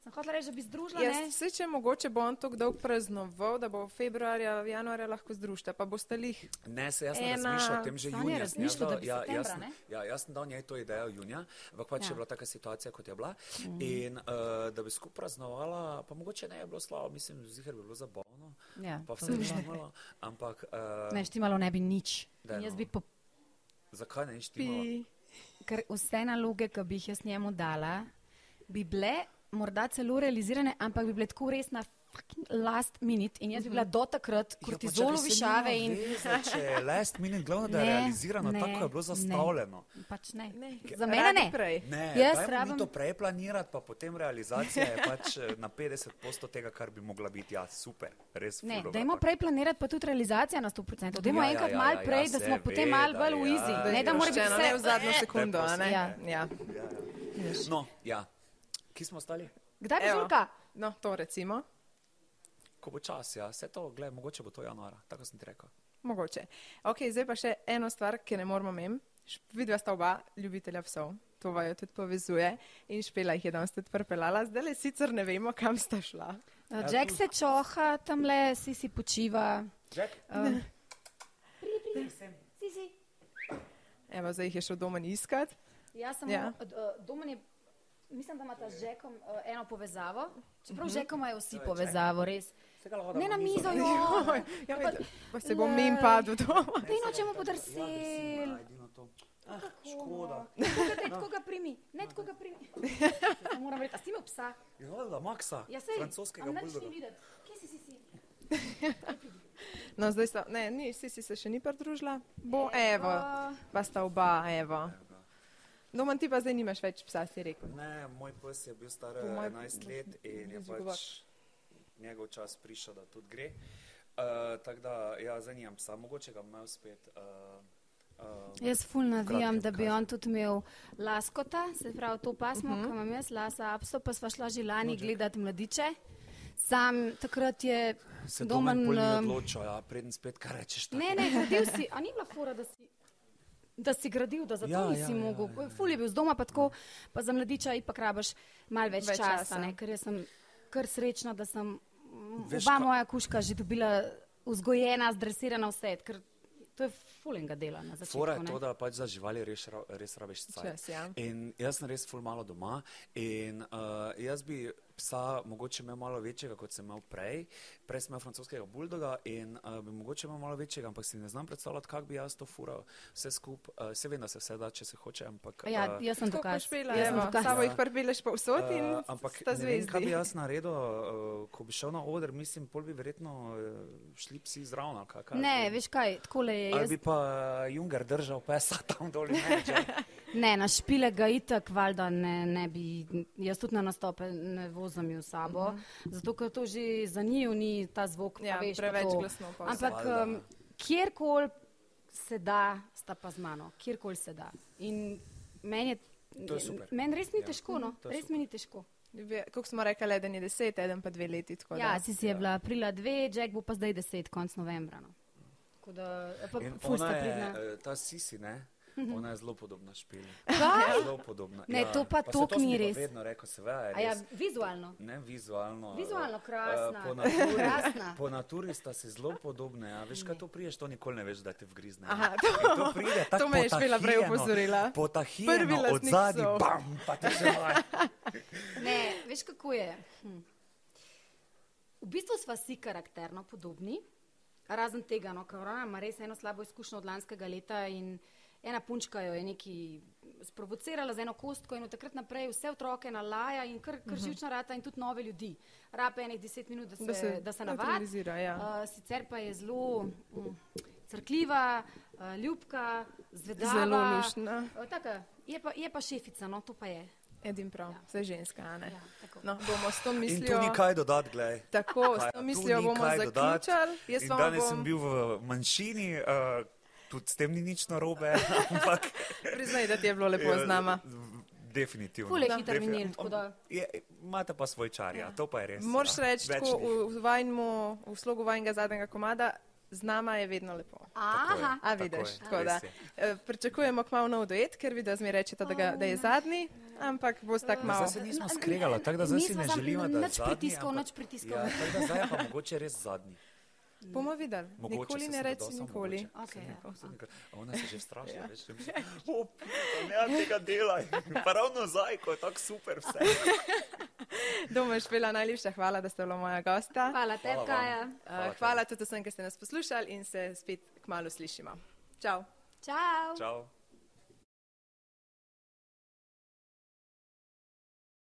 S3: Sem hotela reči, da bi združila. ne?
S1: Jaz se, če mogoče bo on tako dolgo praznoval, da bo februarja, januarja lahko združite, pa boste lih.
S2: Ne, se jaz ne
S1: Ena-
S2: razmišljam o tem že
S3: Sonja
S2: junija. sem jaz
S3: razmišlja,
S2: dal-
S3: da bi
S2: ja,
S3: septembra,
S2: jaz sem-
S3: ne?
S2: ja, jaz sem dal njej to idejo junija, ampak pač
S3: Ja.
S2: je bila taka situacija, kot je bila. Mm. In uh, da bi skupaj praznovala, pa mogoče ne bi bilo slabo, mislim, zihar bi bilo zabavno.
S3: Ja,
S2: Pa
S3: to
S2: vse
S3: bi bilo.
S2: štimalo, ampak uh,
S3: Ne, štimalo ne bi nič.
S2: Daj,
S3: In jaz
S2: no.
S3: bi po,
S2: zakaj ne štimalo? Ja,
S1: Pi.
S3: ker vse naloge, ki bi jih jaz njemu dala, bi bile morda celo realizirane, ampak bi bile tako res na fucking last minute in jaz bi bila
S1: Mhm.
S3: do
S2: Ja,
S3: takrat kortizolu višave in
S2: Če
S3: *laughs*
S2: je last minute, glavno, da je
S3: Ne,
S2: realizirano,
S3: ne,
S2: tako je bilo
S3: ne.
S2: zastavljeno.
S3: pač ne.
S1: Ne.
S3: Za mene
S1: Radi
S3: ne.
S1: Prej.
S2: Ne,
S3: Jaz
S2: dajmo
S3: rabim-
S2: mi to prej planirati, pa potem realizacija
S3: *laughs*
S2: je pač eh, na 50% tega, kar bi mogla biti. Ja, super, res.
S3: Ne,
S2: ful dobro
S3: dajmo
S2: tako.
S3: prej planirati, pa tudi realizacija na 100%. Dajmo
S2: Ja, ja,
S3: enkrat
S2: ja,
S3: malo
S2: ja,
S3: prej, da smo
S2: seveda,
S3: potem malo bolj v
S2: ja,
S3: izi.
S2: ja,
S3: Ne, da
S2: ja.
S3: mora biti
S1: Pošteno, ne v
S3: vse. e, Eh,
S1: zadnjo sekundo. a Ne?
S3: Ja.
S1: Ja.
S2: No, ja. Kje smo ostali?
S3: Kdaj bo
S1: Evo.
S3: žurka?
S1: No, to recimo.
S2: Ko bo čas, ja, vse to, gled, mogoče bo to januar, tako sem ti rekel.
S1: Mogoče. Ok, zdaj pa še eno stvar, ki ne moramo imeti. Vidva sta oba ljubitelja psov, to vaju tudi povezuje in špela jih je danes tudi prepeljala, zdaj le sicer ne vemo, kam sta šla.
S3: Uh, Jack se čoha, tam le si si počiva.
S2: Jack?
S3: Uh,
S1: Evo, zdaj jih je šel doma iskati.
S3: Jaz sem
S1: Ja.
S3: ja. domen je. Mislim, da imata z Žekom uh, eno povezavo, čeprav z Žekom imajo vsi povezavo, res. Ne na mizo,
S1: *laughs*
S3: jo.
S1: Ja, vidim, pa se bom jim padel doma.
S3: Kaj nočemo
S2: Ja,
S3: podrsel?
S2: Ah, Škoda.
S3: Tako ga primi, ne tako ga primi. Ja, Moram reči, a si imel psa?
S2: Ja, da, Maksa,
S3: Ja, sej.
S2: francoskega
S3: A nič ni
S2: buldoga.
S3: videti. Kje si, si, si?
S1: No, zdaj sta, ne, ni, si, si se še ni pridružila. Bo, evo, pa sta oba, evo. Doman ti pa zdaj nimaš več psa, si rekel.
S2: Ne, moj pes je bil star
S1: Po mojem-
S2: 11 let in je
S1: Izguba.
S2: pač njegov čas prišel, da tudi gre. Uh, tako da, ja, zanimam psa, mogoče ga bom imel spet. Uh, uh,
S3: Jaz ful navijam,
S2: kratkem
S3: da bi
S2: kaže.
S3: on tudi imel laskota, se pravi to pasmo, uh -huh. ki imam jaz, lasa apso, pa sva šla že lani gledati mladiče. Sam takrat je
S2: se domen pol ni
S3: em,
S2: odločil, ja, preden spet kaj rečeš. tako.
S3: Ja, Ne, ne, gradil si, a ni bila fora, da si, da si gradil, da zato ja,
S2: Ja,
S3: nisi
S2: ja,
S3: ja,
S2: ja,
S3: mogel.
S2: ja,
S3: Ja, ja. Ful je bil z doma, pa tako, pa za mladiča ipak rabaš malo več,
S1: Več
S3: več časa,
S1: časa.
S3: časa. Ne, ker jaz sem kar srečna, da sem m,
S2: Veš,
S3: oba
S2: ka-
S3: moja kuška že dobila vzgojena, zdresirana vse, ker to je fulenga dela na začetku.
S2: Fora je
S3: ne.
S2: to, da pač za živali res, ra- res rabiš
S1: Čas, ja.
S2: cajt. In jaz sem res ful malo doma in uh, jaz bi psa mogoče imel malo večjega, kot sem imel prej. Prej sem imel francoskega buldoga in uh, bi mogoče imel malo večjega, ampak si ne znam predstavljati, kako bi jaz to fural vse skupaj. Uh, se vem, da se vse da, če se hoče, ampak.
S3: Ja,
S2: eh,
S3: jaz sem
S1: Tako
S3: dokaz.
S1: kot špela,
S3: Jaz sem
S1: evo,
S3: dokaz.
S1: samo jih prpileš povsod in
S2: Eh,
S1: ampak,
S2: ampak
S1: sta
S2: ne vem, kaj bi
S1: zvezdi.
S2: jaz naredil, uh, ko bi šel na oder, mislim, pol bi verjetno uh, šli psi zraven. ali kaj, kaj jaz
S3: Ne,
S2: vem.
S3: veš kaj, takole je.
S2: Ali
S3: Jaz,
S2: bi pa Junger držal pesa *laughs* tam dol, ne vem.
S3: ne, na špile ga itak, valjda ne, ne bi, jaz tudi na nastope ne vozim jo s sabo, uh -huh. zato ker to že za njiju ni ta zvok, pa
S1: Mhm. Ja,
S3: veš, pa
S1: preveč
S3: to.
S1: glasno pa vse.
S3: Ampak
S2: Valjda.
S3: um, kjerkoli se da, sta pa z mano, kjerkoli se da. In meni je,
S2: To je super.
S3: meni res ni
S2: Ja,
S3: ja. težko, no.
S2: to je
S3: res mi ni težko.
S1: Kako smo rekli, eden je deset, eden pa dve leti. tako da-
S3: Ja, si si je bila aprila dve, Jack bo pa zdaj deset, konc novembra. No. Tako da, eh, pa
S2: In
S3: ful
S2: ona
S3: sta
S2: je,
S3: pridna.
S2: eh, ta Sisi, ne? Ona je zelo podobna špili. Zelo podobna.
S3: Ne,
S2: ja.
S3: to pa
S2: pa se
S3: tok
S2: to sem
S3: ni
S2: ji pa
S3: res.
S2: Vedno rekel, seveda je
S3: A ja,
S2: res.
S3: vizualno.
S2: Ne vizualno.
S3: Vizualno
S2: eh,
S3: krasna,
S2: eh, Po naturi,
S3: krasna.
S2: po naturi sta si zelo podobne. A veš, kaj to priješ, to nikoli ne veš, da te vgrizne. ja.
S1: Aha,
S2: In
S1: to-
S2: to pride tako.
S1: to me je Špela prej opozorila. Prvi
S2: Potahirno od
S1: lastnik
S2: zadaj,
S1: psov.
S2: bam, pa ti še
S3: *laughs*
S2: manj.
S3: Ne, veš kako je. Hm. V bistvu smo si karakterno podobni, razen tega, no, ker ona ima res eno slabo izkušnjo od lanskega leta in ena punčka jo je neki sprovocirala z eno kostko in od takrat naprej vse otroke nalaja in kar, kar živčna rata in tudi nove ljudi. Rape enih deset minut, da se,
S1: Mhm. Da
S3: da
S1: se
S3: se, da se navadi.
S1: nevtralizira, ja.
S3: Uh, sicer pa je zelo mm, crkljiva, uh, ljubka, zvedava.
S1: Zelo luštna.
S3: Uh, taka, je, pa, je pa šefica, no to pa je.
S1: Edin prav, vse ženska, a ne.
S3: Ja, tako.
S1: no, bomo s to
S2: In tu ni
S1: mislijo.
S2: kaj dodati, glej.
S1: Tako, s
S2: Kaj,
S1: to
S2: tu
S1: mislijo
S2: ni
S1: bomo
S2: kaj dodati.
S1: zaključali. Jaz
S2: In
S1: vam
S2: Danes
S1: bom-
S2: sem bil v manjšini, eh, tudi s tem ni nič
S1: *laughs*
S2: narobe, ampak eh,
S1: Priznaj, da ti je bilo lepo
S2: Ja,
S1: z nama.
S2: Definitivno.
S3: Ful je
S2: Da.
S3: hiter
S2: Definitivno.
S3: minil, tako da-
S2: Je, imate pa svoj čar, ja. to pa je res.
S1: Moraš
S2: ja.
S1: reči,
S2: Več
S1: tako
S2: ni.
S1: v, v, vajnmu, v slogu vajnega zadnjega komada, z nama je vedno lepo.
S2: Tako je,
S3: Aha.
S1: A
S2: tako
S1: vidiš,
S2: je,
S1: tako, tako
S2: res
S1: da
S2: je.
S1: eh, pričakujemo kmalo nov duet, ker vi da zmi rečete, da, ga, da je zadnji, ampak boš tako
S2: Ma,
S1: malo.
S2: Zdaj se nismo skregali, tako da zdaj si
S3: No, Nismo
S2: ne
S3: sam-
S2: želimo, da je
S3: nič
S2: zadnji,
S3: pritiskov,
S2: ampak-
S3: nič pritiskov.
S2: Ja, tako da zdaj je pa mogoče res zadnji.
S1: Bomo videli,
S2: Mogoče
S1: nikoli
S2: se
S1: ne
S2: sem
S1: reči
S2: dodal,
S1: nikoli.
S2: samo mogoče.
S3: Okej,
S2: Sem
S3: ja.
S2: rekel, sem rekel, a Ona se že straši, ja. veš, da misli, "O, pita, ne tega dela. Pa ravno zdaj, ko je tako super vse.
S1: Domaš, Pela, najlepša hvala, da ste bila moja gosta.
S3: Hvala tebi,
S2: vam.
S3: Kaja.
S1: Eh,
S2: Hvala tebi.
S1: Hvala tudi vsem, ki ste nas poslušali in se spet kmalo slišimo. Čau!
S3: Čau.
S2: Čau.